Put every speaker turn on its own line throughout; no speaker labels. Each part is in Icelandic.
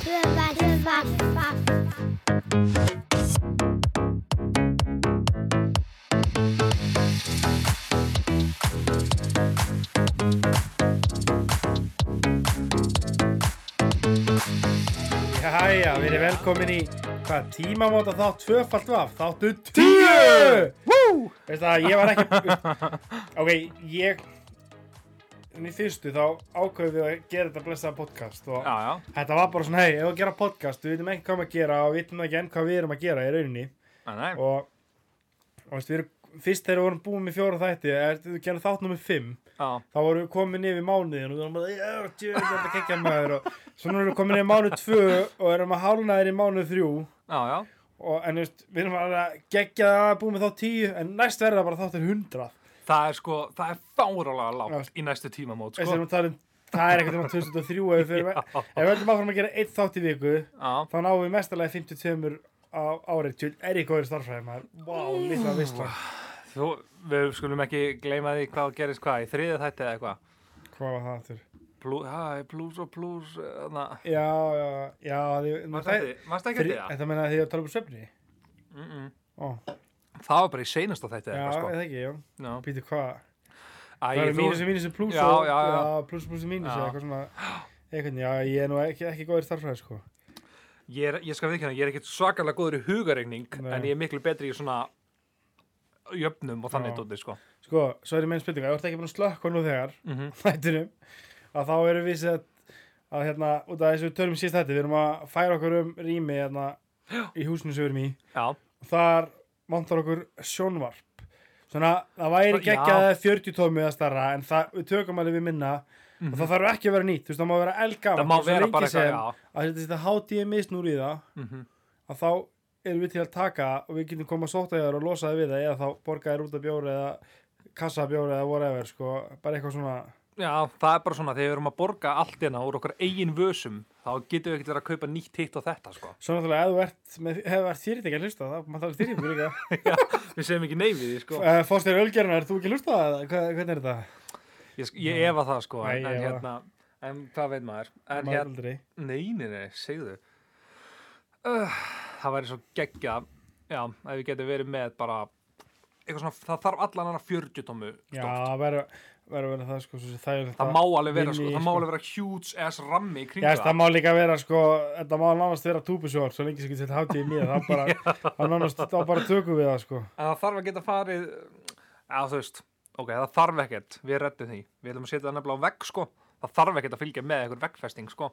Tvöfar, tvöfar, tvöfar
Jæja, við erum velkomin í hvað tímamóta þátt tvöfalt vaf, þáttu tíu! Vú! Veist það, ég var ekki... ok, ég... En í fyrstu þá ákveðum við að gera þetta blessaða podcast og
Já, já,
þetta var bara svona, hei, ef við gera podcast, við veitum ekki hvað maður að gera og við veitum ekki enn hvað við erum að gera í rauninni
Nei, nei,
og, og veist, við erum, fyrst þegar við vorum búin með fjóra þætti, eða við gerum þátt nummið fimm,
já,
þá vorum við komin yfir mánuðin og við vorum bara, já, tjöðu, þetta kekja maður og svona erum við komin yfir mánuð tvö og erum að hálna þér í mánuð þrjú
já, já,
og en veist, við erum alveg að gegja það að búið með þá tíu en næst verður það bara þáttur hundrað
það er sko, það er fáralega lágt í næstu tímamót,
sko?
sko
um, það, það er ekkert um 2003 ef við,
Já.
ef við höldum áfram að gera eitt þátt í viku
Já,
þá náum við mestalagi 52 á árið tjöld er í góður starfræði maður wow, lítið að vissla
þú, við skulum ekki gleyma því hvað gerist hvað, í þriðið þætti eða eitthvað
hvað var það aftur?
Plú, hæ, plús og plús, þarna
já, já, já því-
Varst ekki eftir
Þri-
það?
þetta meina að því að tala um svefni
Mm -mm.
Ó,
Það var bara í seinasta þætti
já,
eða
eða
eitthvað,
ekki, já
sko Já,
Býtu hvað?
Æ,
Það eru
þú-
mínus og mínus og pluss
Já,
og
já, já.
pluss og pluss og mínus
Já.
eða eitthvað svona eitthvað, já, ég er nú ekki, ekki góður starfræði sko
Ég, er, ég skal við ég er ekkert svakalega góður í hugaregning
Nei.
en ég er miklu betri í svona jöfnum og þannig
Já.
dótið, sko
Sko, svo er ég með einn spurninga, ég vart ekki búin að slökka nú þegar
mm -hmm.
þættinum að þá erum við sett að hérna, út af þessu tölum síst þetta við erum að færa okkur um rými hérna í húsinu sem við erum í
Já,
og þar vantar okkur sjónvarp svona, það væri
Já.
ekki ekki að það er 40 tómi eða starra en það, við tökum alveg við minna og það þarf ekki að vera nýtt, þú veist, það má vera elgam
Mhm. það má vera bara eitthvað, já
að þetta setja hátíði misnúr í það
mm
að þá erum við til að taka og við getum koma að sóta þér og losa þér við það eða þá borga þér út af bjóri eða kassa af bjóri eða whatever sko, bara eitthvað svona
Já, það er bara svona, þegar við erum að borga allt hérna úr okkar eigin vösum, þá getum við ekkert verið að kaupa nýtt hitt og þetta, sko.
svo náttúrulega ef þú ert, með- ef þú ert þýrit ekki að hlusta það, maður þarf þýrit líka
Við segjum ekki nei við því, sko.
uh, Fórstir Ölgerna, ert þú ekki að hlusta það? eða Hvað, hvernig er þetta?
Ég, sk- ég efa það, sko,
Nei, ég
en, en
efa.
hérna, en hvað veit maður? En
Maður
hérna,
aldrei
nei, nei, nei, segðu. Uh, það væri svo geggja, já, ef við getum verið með bara, eitthvað svona, það þarf allan hana 40 tómu
Já,
stof.
verður verður verið það sko, svo, það,
Það má alveg vera, sko,
Inni,
það má
sko.
alveg vera huge ass rammi í
Já,
kringu
veist, það má líka vera sko, þetta má nánast vera túbusjór svo lengi sem getur þetta hátíð í mér það bara, það nánast, þá bara tökum við það sko
En það þarf að geta farið að þú veist, ok, það þarf ekkert við rettum því, við ætlum að setja það nefnilega á vegg sko, það þarf ekkert að fylgja með einhver veggfesting sko,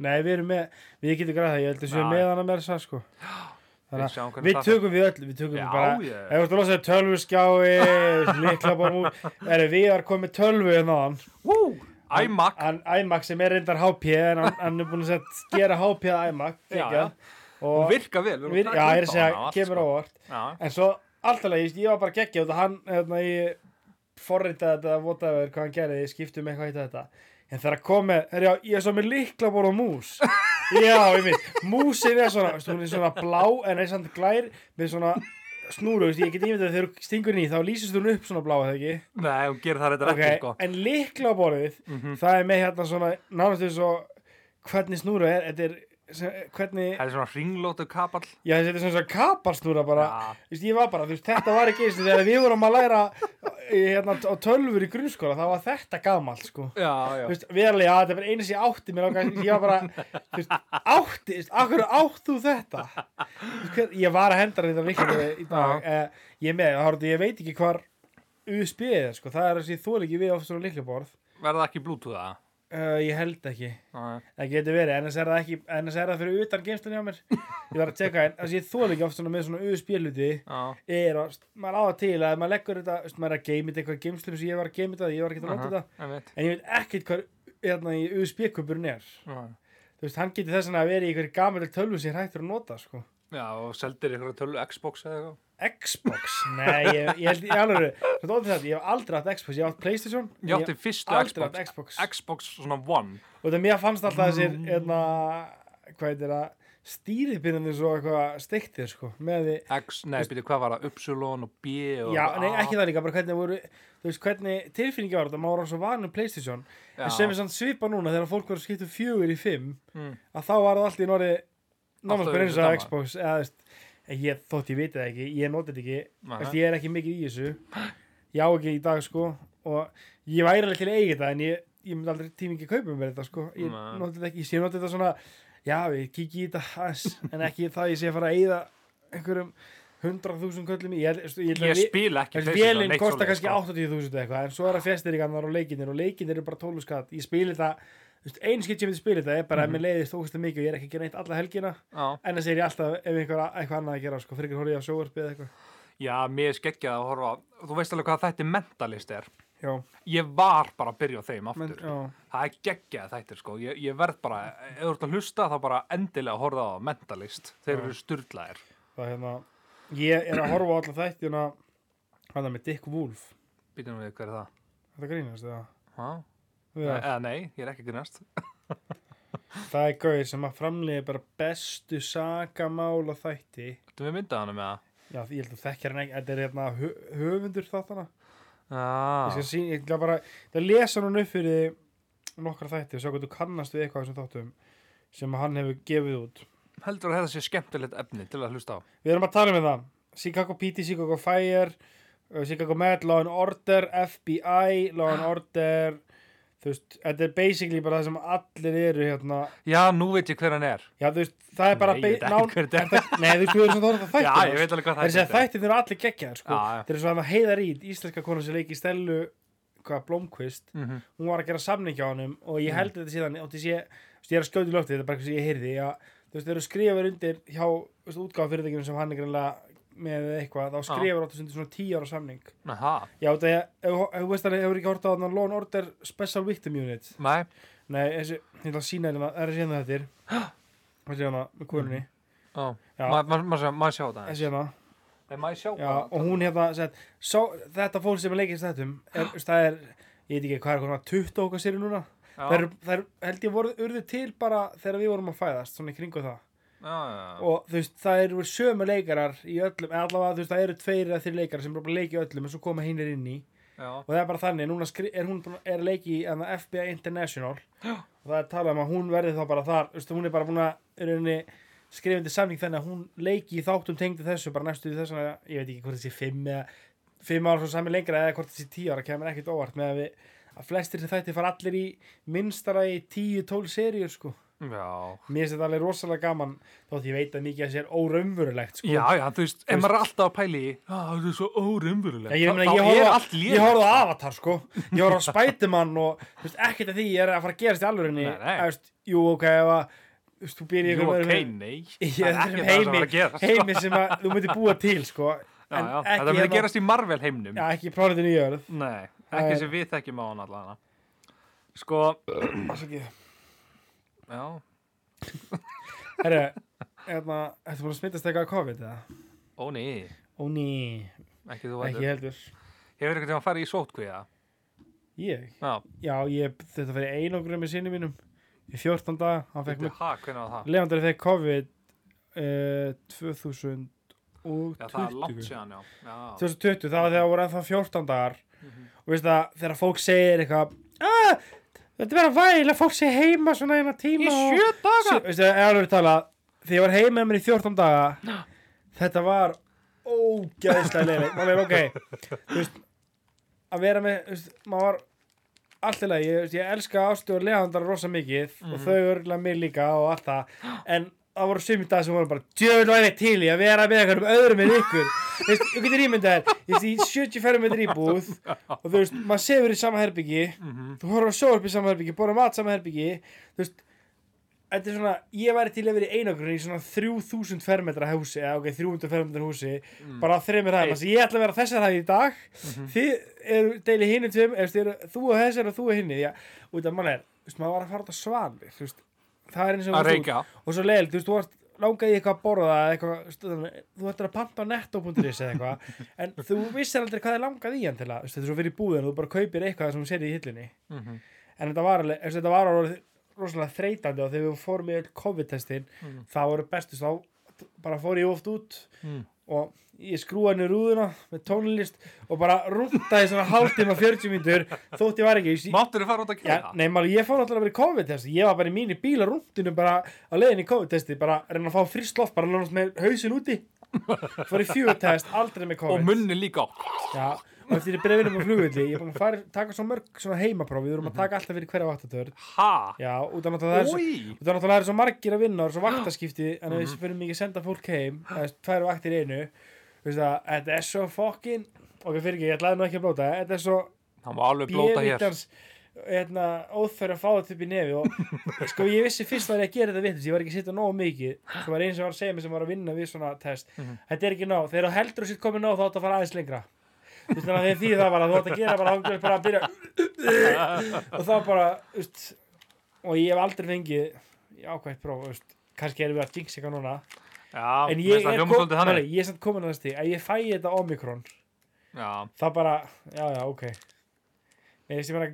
Nei, við erum með, við getum græð það, ég held að séu
Já,
með hana meira sér sko. Þannig
sjáum
að
hvernig
við
það fer.
tökum við öll, við tökum
Já,
við bara,
ég-
ef þú ert að losa þér tölvuskjái, líkla bara múl, erum við að koma með tölvu en áðan,
Wú! iMac,
hann iMac sem er reyndar HP, en hann, hann er búin að set, gera HP að iMac,
Já,
ekki
já. hún virka vel,
við, já, ég er að segja, kemur óvart,
sko. Já,
en svo alltaf, ég, ég var bara geggjað út að hann, hérna, ég forritaði þetta, votaði hvað hann gerði, ég skipti um eitthvað eitt að þetta, en þegar að koma, er, já, ég er svo með líkla bara mús, Já, ég veit, músin er svona, veistu, hún er svona blá en er samt glær með svona snúru, veistu, ég get ímyndað að þegar þú stingur inn í þá lýsist hún upp svona blá, eða ekki?
nei, hún gerir það reyndar
Ok,
ekki sko,
en líkla borðið, það er með hérna svona, nánast eins og hvernig snúru er, þetta er, sem- hvernig,
það er svona ringlótu kapall,
já þetta er svona svona kaparsnúra bara,
Já.
veistu, ég var bara, þú veist, þetta var ekki eins og þegar við vorum að læra í, hérna á tölfur í grunnskóla, þá var þetta gamalt, sko.
já, já,
Þú veist, verulega, þetta er bara einu sem ég átti mér ákvæm, ég var bara, þú veist, átti, þú veist, akkur átt þú þetta? Þú veist, hver, ég var að henda þetta líka í dag, eh, ég er með, þá horfðu, ég veit ekki hvar USB er, sko, það er þess að ég þóla ekki við ofta svona líkla borð,
verða ekki bluetooth það?
uh, ég held ekki,
Nei.
það getur verið, ennast er það ekki, ennast er það fyrir utan geimstunni á mér, ég þarf að teka, en þess að ég þóla ekki ofta svona með svona USB hluti,
Já,
er að, maður á það til að maður leggur þetta, þú veist, maður er að geima þetta eitthvað geimstum sem ég var að geima þetta, ég var ekki að láta þetta,
einmitt.
en ég veit ekkert hvað hérna í USB-kupurinn er
Já.
þú veist, hann getur þess vegna að vera í einhverju gamalur tölvu sem hættur að nota, sko
Já, og seldir ykkur tölu Xbox eða eitthvað?
Xbox, nei, ég, ég held í alveg þetta er þetta, ég hef aldrei átt Xbox, ég hef átt Playstation en
Ég átti fyrstu
aldrei
Xbox,
átt Xbox.
Xbox svona One, Mm.
og það mér fannst alltaf þessir, hérna hvað heitir það, stýripinnum eins og eitthvað steiktir sko, með því
X, nei, byrju, hvað var það, Upsilon og B og
Já,
A.
nei, ekki það líka, bara hvernig voru þú veist, hvernig tilfinningi var þetta, maður var svo vanum Playstation,
Já.
en sem er samt svipa núna þegar fólk voru skiptu um fjögur í fimm
Mm.
að þá var það allt í norði
Allt
náttúrulega bara eins
öðruvísi
og
dama.
Xbox eða, þú veist, ég, þótt ég viti það ekki, ég noti þetta ekki
Nei.
þú veist, ég er ekki mikið í þessu ég á ekki í dag, sko og ég væri alveg til að eiga þetta en ég, ég myndi aldrei tími ekki kaupa mér þetta, sko ég
Nei.
noti þetta ekki, ég noti þetta svona já, ég kiki í þetta hans en ekki það ég sé að fara að eyða einhverjum 100.000 köllum í- ég, held- þú veist, ég, held að
Ég
vi-
spila ekki
Þessi
PlayStation,
vélinn
neitt
kostar
svoleiðis,
kannski
sko.
80.000 eða eitthvað en svo er það fjastir í gannar og leikinir og leikinir eru bara 12 skatt ég spili það, einn skilt ég myndi spila þetta er bara ef mér leiðist ógæslega mikið og ég er ekki að gera neitt alla helgina
Já.
en það segir ég alltaf ef einhver eitthvað annað að gera sko, fyrir ekki horfið á sjóvarpið eða eitthvað
Já, mér er skeggjað að horfa á- Þú veist alveg hvað þetta mentalist er
já,
Ég var bara að byrja á þeim
menn,
aftur
já,
Það er geggjað þetta sko ég, ég verð bara, ef þú ert að hlusta þá bara endilega að horfa á mentalist Þeir
Já.
eru styrlaðir
það er hérna ég er að horfa á alla þættina hann er með Dick Wolf
Býtum við hver er það
þetta grínast eða
Ha?
Já,
Eða nei, ég er ekki grunast
það er gauð sem að framlega bara bestu sagamála þætti
Þetta við myndað hann með það
já, ég held að þekkja hann ekki þetta er hérna hö- höfundur þáttana ég skal
Ah,
sín, ég ætla bara það lesa hann upp fyrir þig nokkra þætti og sjá hvað þú kannast við eitthvað sem þáttum sem hann hefur gefið út
heldur að þetta sé skemmtilegt efni til að hlusta á
við erum að tala með það Chicago PD, Chicago Fire uh, Chicago Med, Law and Order FBI, Law
Ah.
and Order þú veist, þetta er basically bara það sem allir eru hérna
Já, nú veit ég hver hann er
já, þú veist, það er bara
Nei, ég veit
ba-
ekki hver þetta er.
þetta- nei, þú veist, þú erum sem það þætti
Já, ég veit alveg hvað
Það er
þetta
að þættir þeir eru allir geggjaðar sko.
Já, já.
Þeir eru svo að það heiðar í íslenska konar sem leik í stelu hvað, Blomqvist
Mhm.
hún var að gera samning hjá honum og ég held þetta síðan átti sé, þú veist, ég er að skjóti lótti þetta er bara eitthvað sem ég heyrði að, þú veist, þeir eru skrifar undir hjá útgáfafyrirtækjum sem hann er greinlega með eða eitthvað, þá skrifar átti undir svona 10 ára samning
Aha,
Já, þetta er, ef ef þú veist að hefur ekki hort á þannig Lone Order Special Victim Unit
nei,
Nei, þessi, ég ætla að sína hérna, það er að sína þetta er þessi hérna, með konunni
ó,
Já.
maður sjá þetta
þessi hérna
Nei, maður sjá
Já, og hún hérna sett, sá, þetta fólk sem er leikist þettum er, þú veist, það er, ég veit ekki hvað er konar 20 okkar sér núna
Já,
þær, þær held ég voru urðu til bara þegar við vorum að fæðast, svona í kringu það
já, já,
og þú veist, það eru sömu leikarar í öllum, eða allavega þú veist, það eru tveir eða þeir leikarar sem eru bara að leika í öllum en svo koma hinnir inn í
já,
og það er bara þannig, núna skri, er hún búin að- er að leiki í hérna, enna FBI International og það er talað um að hún verði þá bara þar þú veist, hún er bara búin að er henni skrifandi samning þannig að hún leiki í þáttum tengdi þessu bara næstu í þessu, ég veit ekki hvort þessi fimm eða fimm ára svo sami lengra eða hvort þessi tíu ára kemur ekkert óvart með að við að flestir sem þætti fara allir í minnstara í 10-12 seríur sko
já
mér finnst þetta alveg rosalega gaman þótt ég veit að mikið að þessi er óraumvörulegt sko.
Já, já, þú veist, ef maður er alltaf að pæli í Já, það er svo
Já,
órumvurulegt
ég, meina,
Þá
ég,
er
horfði á-
allt lið
ég horfði á Avatar sko ég horfði á Spiderman og þú veist, ekkert af því ég er að fara að gerast í alvörinni
Nei, nei.
Veist, jú ok ef að þú veist, þú býr í
Jú,
einhverjum
ok,
öðrum-
nei
í
Það er
öðrum
ekki það sem er að
heimi,
gera
heimi sem að, þú myndir búa til sko hérna-
Já, já, þetta verður að gerast Mm. í Marvel heimnum
já, ekki plánutinu í jörð
Nei,
Það er-
ekki sem við þekkjum á hann allan Sko,
herru,
já,
hérna, ertu búin að smittast eitthvað af COVID eða?
ó nei
ó ný,
Ekki þú
ekki
veitur
heldur
Hefur eitthvað tíma að fara í sótkvíða?
ég,
Já,
já, ég þetta fyrir einogrum með sinni mínum í 14 dag, hann fekk
veitur,
mjög
ha, hvernig var það?
Levandur fekk COVID uh, 2020
Já, það er langt séðan, já, já
2020, það var þegar voru ennþá 14 dagar
Mhm.
og veist það, þegar fólk segir eitthvað "Ah, þetta er bara væl að fólk sé heima svona eina tíma og- Sjö- veistu, ég er alveg að tala þegar ég var heima með mér í 14 daga þetta var ógæðslega leiðilegt maður er ok þú veist, að vera með þú veist, maður var alltaf leið ég, þú veist, ég elska Ástu og Leandar rosa mikið og þau örgulega mig líka og allt það en það voru sumi dag sem voru bara djöfull væri til í að vera með einhverjum öðrum en ykkur Þú veist, þú getur ímyndað þér ég veist, í 70 ferrum með íbúð og þú veist, maður sefur í sama herbyggi þú horfður á sjóarp í sama herbyggi, borður mat sama herbyggi þú veist, þetta er svona, ég væri til að vera í einogrun í svona 3000 fermetra húsi eða ok, 300 fermetra húsi
Mm.
bara á þreymir hæðum,
Eitt.
þannig að ég ætla að vera á þessar hæði í dag
Mhm.
þið eru deili hinni tveim ef þið eru þú og þessar og þú og hinni já, út af mann er, þú veist, maður var að fara út á svanli þú veist, það er eins og
Að
þú veist,
reykja.
út. og svo leil, þú veist, þú varst langaði eitthvað að borða eða eitthvað, þú veist, þannig, þú ættir að panta á netto.is eða eitthvað, en þú vissir aldrei hvað þið langaði í hann til að, þú veist, þetta er svo fyrir búðin og þú bara kaupir eitthvað sem hún sér í hillinni
Mhm.
en þetta var alveg, þú veist, þetta var alveg rosalega þreytandi og þegar við fórum í öll COVID-testin
Mm.
þá voru bestu þá bara fór ég oft út
Mm.
og ég skrúa henni rúðuna með tónlist og bara rúntaði svona hálftíma 40 mínútur þótt ég var ekki ég,
Máttur þú fara út að
já,
kæra?
nei, maður, ég fór náttúrulega bara í COVID-test ég var bara í mínu bíla rúntinu bara á leiðin í COVID-testi bara að reyna að fá frist loft bara lónast með hausin úti fór í fjögutest, aldrei með COVID
og munni líka
Já, og eftir ég brefin um á flugulli ég er búin að fara, taka svo mörg svona heimapróf við erum að taka alltaf fyrir hverja vaktatörn
Ha?
Já, út af náttúrulega það er svo
Úi
út af náttúrulega það er svo margir að vinna og svo vaktaskipti en ef við fyrir mikið að senda fólk heim það er tvær vaktir í einu þú veist það, þetta er svo fokkin ok, fyrir ekki, ég ætlaði nú ekki að blóta þetta er svo
Það má alveg blóta hér
bjevítans hérna, óþörf að fá þetta upp í nefi og sko ég vissi fyrst að ég að gera þetta vitt ég var ekki að sitja nógu mikið það var eins sem var að segja mér sem var að vinna við svona test
Mhm.
þetta er ekki nóg, þegar þú heldur þú sitt komið nóg þá áttu að fara aðeins lengra þú veist þannig að því það var að þú átt að gera bara, þá átt bara að byrja og þá bara úst, og ég hef aldrei fengið ákvæmt próf, úst, kannski erum við að jinx eitthvað núna,
Já,
en
mér finnst
ég
það
er,
hljóma svolítið
nei,
þannig
ég er samt komin að það stíð að ég fæ þetta omikron
Já,
þá bara, já já, ok Nei, þessi bara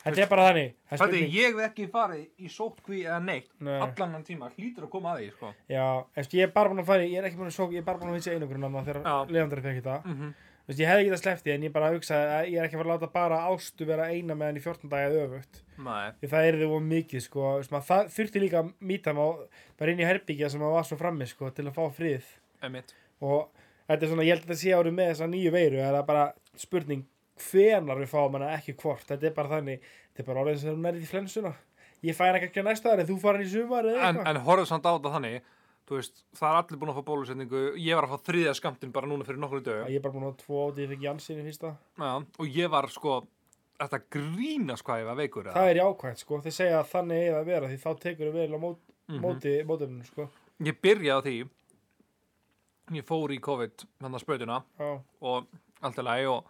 þetta er bara þannig það er
Fætti,
spurning-
ég hef ekki farið í sótkví eða neitt
Nei.
allan hann tíma, hlýtur að koma að því sko.
já, eftir, ég er bara búin að færi, ég er ekki búin að sók ég er bara búin að hitja einangrun annað
Já.
um þegar leðandari fekk þetta
mm -hmm.
Þú veist, ég hefði ekki það sleppti en ég bara hugsaði að ég er ekki að fara að láta bara ástu vera eina með hann í 14 daga eða öfugt
Nei,
því það er þið of mikið sko þú veist, maður, það þurfti líka að mýta maður bara inn í herbyggja sem maður var svo frammi sko til að fá frið
emitt
og þetta er svona, ég held að þetta sé árið með þessa nýju veiru það er bara spurning hvenar við fáum hana ekki hvort þetta er bara þannig, þetta er bara orðið sem hún er í flensuna ég fæ hana ekki að næsta ári, þú farin í sumar eða
En,
eitthvað
en horfðu samt á þetta þannig Þú veist, það er allir búin að fá bólusetningu Ég var að fá þriðja skamtin bara núna fyrir nokkru dög
ég er bara búin að hafa tvo áti, ég fekk Jansin í fyrsta
Já, og ég var sko Þetta grínast hvað ég var veikur eða?
það er jákvæmt sko, þeir segja að þannig eigi það að vera því þá tekur við vel á mót,
Mhm.
móti, mótöfnum sko
Ég byrjaði á því Ég fór í COVID Þannig að spötuna
Já.
og allt er lægi og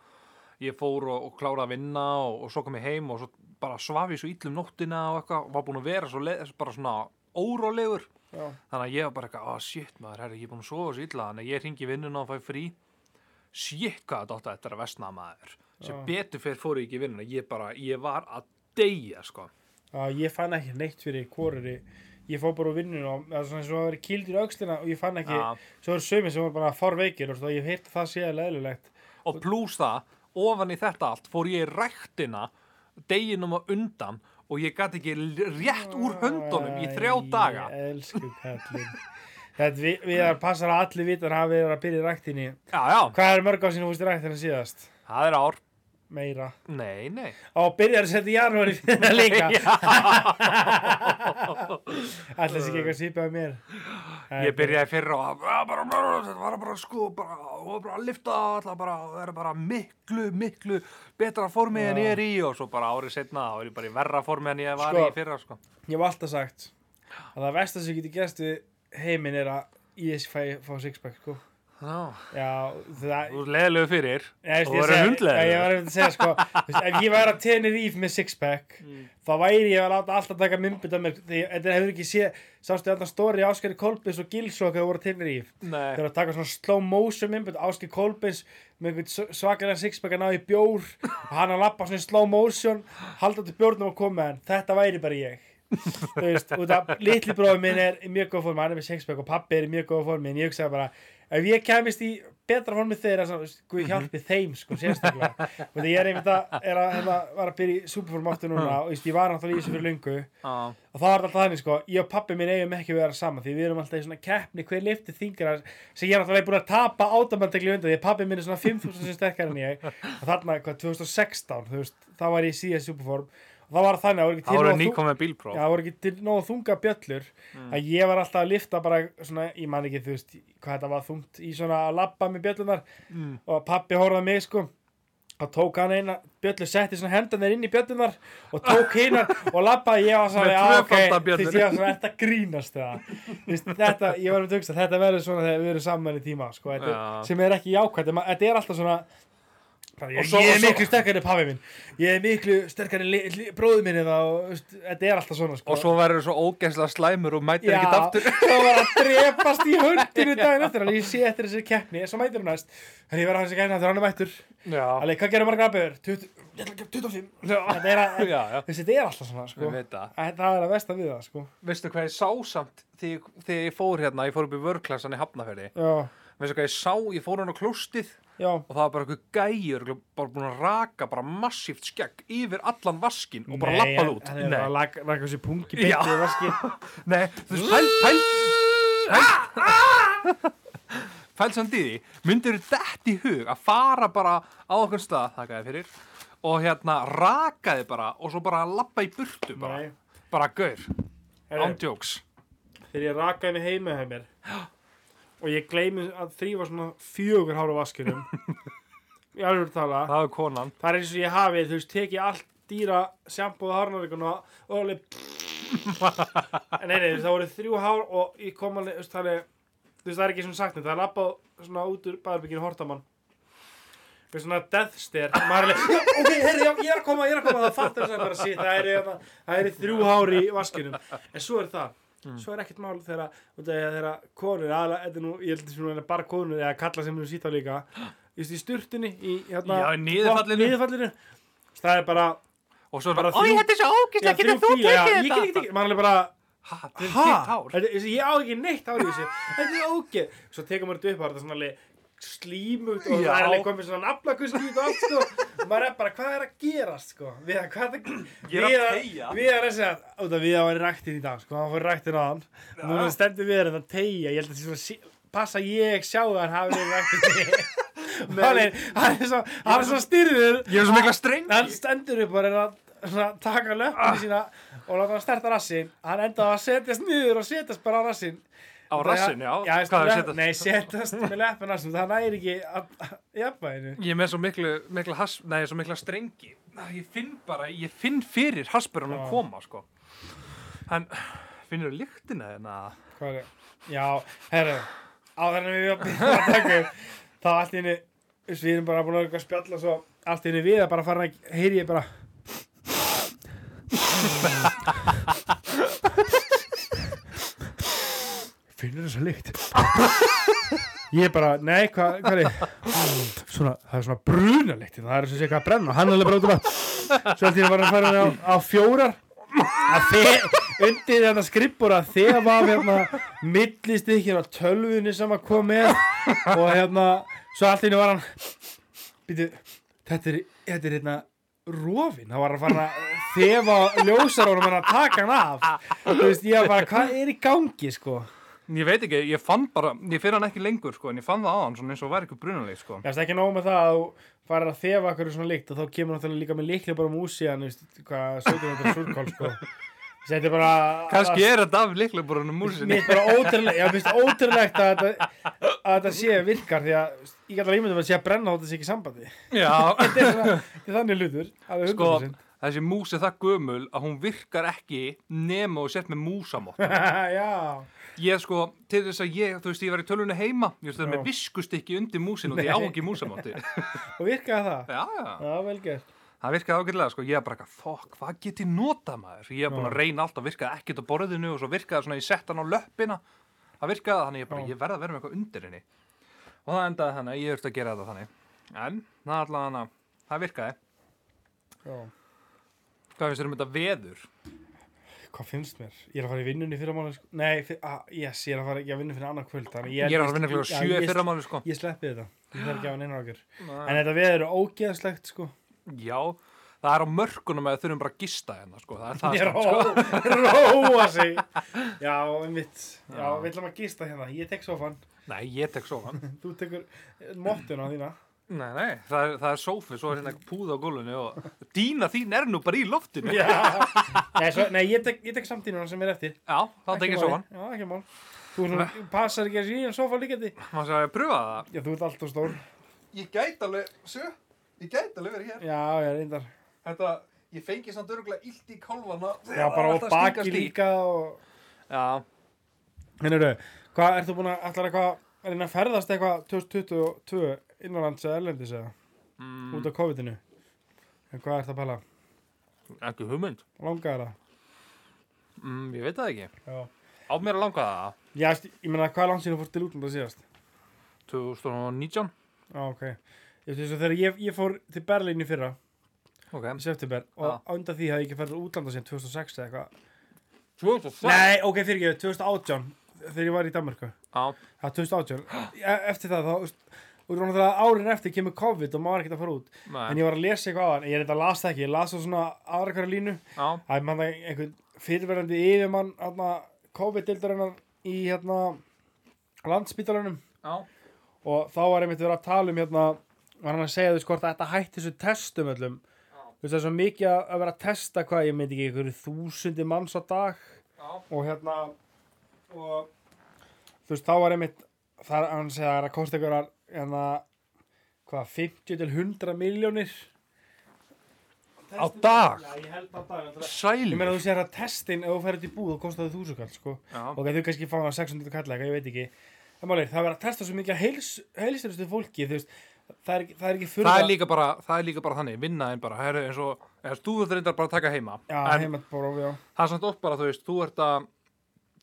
ég fór og, og kláraði að vinna og, og svo kom ég heim og svo bara svaf ég svo illum nóttina og eitthvað og var búin að vera svo le, bara svona órólegur
Já,
þannig að ég var bara eitthvað, ah shit maður, herri, ég er búin að sofa svo illa þannig að ég hringi í vinnuna og fæ frí shit hvað þetta átti eftir að vesna maður sem
Já.
betur fyrir fór ég ekki í vinnuna ég bara, ég var að deyja sko
Já, ég fann ekki neitt fyrir hvorari ég fór bara úr vinnuna og það er svona eins og að vera kildur í aukslina og ég fann ekki
Já.
svo eru sömi sem voru bara farveikir og svo ég hef heyrt að það sé leðilegt
og pluss það, ofan í þetta allt fór ég í ræktina deginum á undan og ég gat ekki rétt úr höndunum í þrjá daga
Ég elsku kallinn Þetta við, við erum passar að allir vitar hafi verið að byrja í ræktinni
Já, já,
Hvað er mörg á sínum fúst í ræktina síðast?
það er ár.
Meira
Nei, nei.
Og byrjar að setja janúar í þetta líka Allir þessi ekki eitthvað sýpaði mér
Ég byrjaði fyrra og að bara, þetta var bara sko, bara, og bara að lifta, alltaf bara, það er bara miklu, miklu betra formi en ég er í og svo bara árið setna, þá er ég bara í verra formi en ég var
Sko.
í fyrra, sko.
Ég hef alltaf sagt að það versta sem getur gerst við heiminn er að ég fæ, fá sixpack sko.
Já,
Já, það
þú er leðilegu fyrir
Nei,
og
veist,
þú
ég
er
segi-
hundlega.
Já, Ég var að segja sko veist, Ef ég væri að tenir íf með sixpack
Mm.
þá væri ég að láta alltaf taka mymbut af mér því þetta hefur ekki sé sástu alltaf stóri Áskari Kolbins og Gilsok þegar voru tenir íf
Nei.
þeir eru að taka svona slow motion mymbut Áskari Kolbins með einhvern svakalega sixpack að ná í bjór og hann að lappa svona í slow motion halda til bjórnum og koma með hann þetta væri bara ég þú veist, út af litli bróður minn er í mjög góð formi, hann er með sexpack og pappi er í mjög góð formi en ég hugsaði bara, ef ég kemist í betra formi þeirra, svo, guð hjálpi þeim sko, sérstaklega, og því ég er einmitt að er að, hérna, var að byrja í superform aftur núna og þú veist, ég var náttúrulega í þessu fyrir lungu
Já,
og það var alltaf þannig sko, ég og pappi minn eigum ekki að vera saman, því við erum alltaf í svona keppni hver lifti þingra, sem ég er alltaf búin að tapa átamandegli undan, því að pappi minn er svona 5000 sem sterkar en ég, og þarna hvað, 2016, þú veist, þá var ég í síðan superform og það var þannig að voru ekki
þá
nóg
voru
að þú-
nýkomið bílpróf.
Já, það voru ekki til nógu þunga bjöllur
Mm.
að ég var alltaf að lifta bara svona, ég man ekki, þú veist, hvað þetta var þungt í svona að labba með bjöllunar
Mm.
og pappi horfði á mig, sko og tók hann eina bjöllu, setti svona hendunar inn í bjöllunar og tók hinnar og labbaði ég var
Með
svona, já, ok,
tvöfaldar
þú veist,
bjöllur.
ég var svona, þetta grínast það þú veist, þetta, ég var um tugst að þetta verður svona þegar við erum saman í tíma, sko, þetta,
Já.
sem er ekki jákvæmt, en ma- þetta er alltaf svona Bara,
Og
Ég,
svo-
ég
og
er
svo-
miklu sterkari en pabbi minn Ég er miklu sterkari en li- li- bróður minn eða, og, veist, Þetta er alltaf svona sko.
Og svo verður svo ógænslega slæmur og mætir
Já,
ekkert aftur.
svo var að drepast í höndinu daginn eftir Þannig ég sé eftir þessi keppni Svo mætir hún næst Þannig ég verður hans ekki einn Þannig hérna hann er mættur
Já,
Alveg, hvað gerir margar aðbjör? 25 Þetta er, að,
já, já.
þessi, þetta er alltaf svona sko.
Ég veit það.
Að Þetta er að vesta við það sko.
Veistu hvað ég sá samt þegar ég- þegar ég fór hérna, ég fór upp í vörklassan í Hafnafjörði.
Já,
Veistu hvað ég sá, ég fór hann á klóstið
já
og það var bara eitthvað gæjur, bara búin að raka bara massíft skegg yfir allan vaskin og bara lappað út.
Nei, hann- hann er
Nei,
að laka laka þessi pungi
Já.
beint í vaskinn.
Nei, þú veist, pæl, pæl, pæl, pæl samt í því, myndir þetta í hug að fara bara á okkur stað, þakka þér fyrir, og hérna raka þið bara og svo bara lappa í burtu bara,
Nei.
bara gaur,
Herri,
ándjóks.
Þegar ég rakaði mig heima hjá mér Og ég gleymi að þrýfa svona fjögur hára vaskinum Ég alveg að tala
Það er konan.
Það er eins og ég hafi, þú veist, tekið allt dýra sjampóða hárnaríkun og og alveg En nei, nei, þú veist, það voru þrjú hár og ég kom alveg, þú veist, það er Þú veist, það er ekki sem sagt neitt, það er labbað svona út úr baðurbygginu hortamann Þú veist, svona death stare og maður er alveg, ok, herri, já, ég er að koma, ég er að koma það fattar þess að bara sítt, það er, hérna, það er þrjú hár í vaskinum En svo er það
Hmm.
Svo er ekkert mál þegar að- út af því að þegar konur, aðla, þetta er nú, ég held að þetta er bara konur eða kalla sem við sýtt á líka Þú veist, í sturtunni, í hérna
Já, í niðurfallinu.
niðurfallinu. Það er bara
Og svo
Bara
bara, oi,
þrjú-
þetta er svo ógæslega,
Já,
getur
þrjú
þú
fíla, já, Ég
tekið
get ekki
þetta?
tekið, maður er alveg bara
Ha, þetta er þitt
Ha?
hár.
Þetta- þessi- Ég á ekki neitt hár í þessu Þetta er ógeð Svo tekur maður þetta upp og það er svona alveg slímut og
Já.
það er alveg komið svona naflakus í þetta allt sko Og maður er bara hvað er að gerast sko við að hvað er að
Ég er að
við
teygja.
við að reysa út af við að vera ræktinn í dag sko hann fór ræktinn á hann núna stendur við hérna að tegja ég held að það sé svona sí- passa ég sjá að hann hafi verið ræktinn hann er hann er svo hann er svo styrður
Ég er svo mikla streng.
hann stendur upp og er að svona, taka
Ah.
löppinu sína og láta hann sterta rassin hann endaði að setjast niður og setjast bara á rassin
Á rassin, já.
já
Hvað er
hvað
setjast?
setjast? nei, setjast með löppinu rassin það næri ekki að að jafnvæginu
Ég er með svo miklu, miklu, has, nei, svo mikla strengi. Æ, Ég finn bara, ég finn fyrir hasperunum
Já.
koma, sko. Hann, finnur þú lyktina hérna? þeirna?
hvað er það já, herru á þennan við að byrja að taka upp, þá allt í henni við erum bara búin að vera eitthvað að spjalla svo allt í henni við að bara fara að heyri ég bara finnur þessa lykt ég bara, nei, hvað hva er svona, það er svona brunalykt hérna, það er sem sé eitthvað að brenna hann er alveg bara út um að svo allt í henni var hann farin á, á fjórar að þe undir þetta skrippur að þefa af, hérna, millist ykkur á tölvunni sem að kom með og hérna svo allt í henni var hann býtu, þetta er, þetta er hérna rofin, það var að fara að þefa ljósarónum en að taka hann af þú veist, ég var bara, hvað er í gangi sko
Ég veit ekki, ég fann bara, ég finn hann ekki lengur, sko, en ég fann það á hann, svona eins og væri eitthvað brunanleik, sko.
Já, það er ekki nóg með það að þú farir að þefa okkur svona líkt og þá kemur náttúrulega líka með líklega bara mús í hann, veist, hvað, 17 metra súrkál, sko. Þessi, þetta er bara...
Kanski er þetta af líklega bara hann um
Mér
músinni.
er bara ótrúlegt, já, mér finnst ótrúlegt að þetta, að þetta sé virkar því að, veist, ég gæti að ímyndum að sé að brenna þótt þessi ekki í sambandi.
Já,
Þetta er svona, þetta er þannig hlutur, alveg
sko,
100%.
þessi mús er það gömul að hún virkar ekki nema og sett með músamótt.
já,
Ég sko, til þess að ég, þú veist, ég var í tölvunni heima, ég veist það
Já.
með viskustykki undir músin og því ég á ekki músamótti.
og virkaði það.
Já, já.
Já, vel gert.
Það virkaði ágætlega, sko, ég var bara eitthvað, fokk, hvað get ég nota maður? Ég var búin að reyna allt, það virkaði ekkert á borðinu og svo virkaði svona, ég sett hann á löppina. Það virkaði þannig, ég bara,
Já.
ég verði að vera með eitthvað undir henni. Og það endaði þannig, að ég þurfti að gera þetta þannig. En, það er allavega þannig, það virkaði.
Já.
Hvað finnst þér um þetta veður?
Hvað finnst mér? Ég er að fara í vinnunni fyrir mánu, sko. Nei, fyr, ah, yes, ég er að fara ég er að vinna fyrir annað kvöld, þannig
Ég er að vinna
Já,
klukka 7
ég-
fyrir máli, sko.
Ég sleppi þetta, ég þarf ekki að hafa neina okkur
Nei.
En þetta við eru ógeðslegt sko
Já, það er á mörkunum að við þurfum bara að gista hérna, sko. Það er það,
Ég
sko.
ró- róa sig Já, einmitt Já,
Já.
við ætlum að gista hérna Ég tek sofan,
Nei, ég tek sofan.
þú tekur eh, mottuna þína
Nei, nei, það er, það er sófi, svo er hérna púða á gólunni og dýna þín er nú bara í loftinu.
Já Nei, svo, nei ég, tek, ég tek samtíðuna sem er eftir
Já, þá tek ég
Ekki
sofan.
máli. Já, ekki mál Þú svona, passar ekki að sé í en sofa líkandi
Má sér að ég pröfa það?
Já, þú ert alltaf stór
Ég gæti alveg, sjö, ég gæti alveg verið hér.
Já, já, reyndar
Þetta, ég fengi samt öruglega illt í kálvana.
Já, bara á baki líka og...
Já,
Hennirðu, hvað ert þú búin að ætlar eitthvað að reyna að ferðast eitthvað 2022 innanlands eða erlendis eða?
Mm.
út af COVID-inu en hvað ert að pæla?
ekki hugmynd
Langaði það?
mm, ég veit það ekki,
Já,
á mér að langa það
Já veist, ég meina hvað er langt síðan þú fór til útlanda síðast?
2019
Já, ok Ég veist eins og þegar ég, ég fór til Berlín í fyrra
ok,
í september og ah. undan því hafði ég ekki færið til útlanda síðan 2006 eða eitthvað
2006
Nei, ok, fyrir ekki, 2018 þegar ég var í Danmarku
Já,
Það 2018, E- eftir það þá, þú veist, og þú veist, árin eftir kemur COVID og maður er ekkert að fara út
nei,
en ég var að lesa eitthvað á hann, ég er þetta að lasa ekki ég lasa svona aðra hverja línu
já,
að mann það einhvern fyrirverandi yfirmann hérna, COVID-dildarinnar í hérna landspítalunum
já,
og þá var einmitt verið að tala um hérna var hann að segja þú skort að þetta hætti þessu testum öllum þú veist það er svo mikið að- að vera að testa hvað ég myndi ekki einhverju þúsundi manns á dag
já,
og hérna og þú veist þá var einmitt þar hann segja að það er að kosta einhverjar hérna hvað 50 til 100 miljónir
Á dag?
Já, ég held á dag en það er- Ég meina
sælir
þú sér að testin ef þú ferði til búð og kostaði þúsukall sko
Já,
ok, þau kannski fá hana 600 kalla eitthvað, ég veit ekki en málir, það verður að testa svo mikið að heils, heilsurustu fólki þú veist, það er, ekki- það er ekki fyrir
það er líka bara, það er líka bara þannig, vinna en bara, herru, eins og, eða þú ert reyndar bara að taka heima,
já,
en
heima bara, já,
það er samt oft bara, þú veist, þú ert að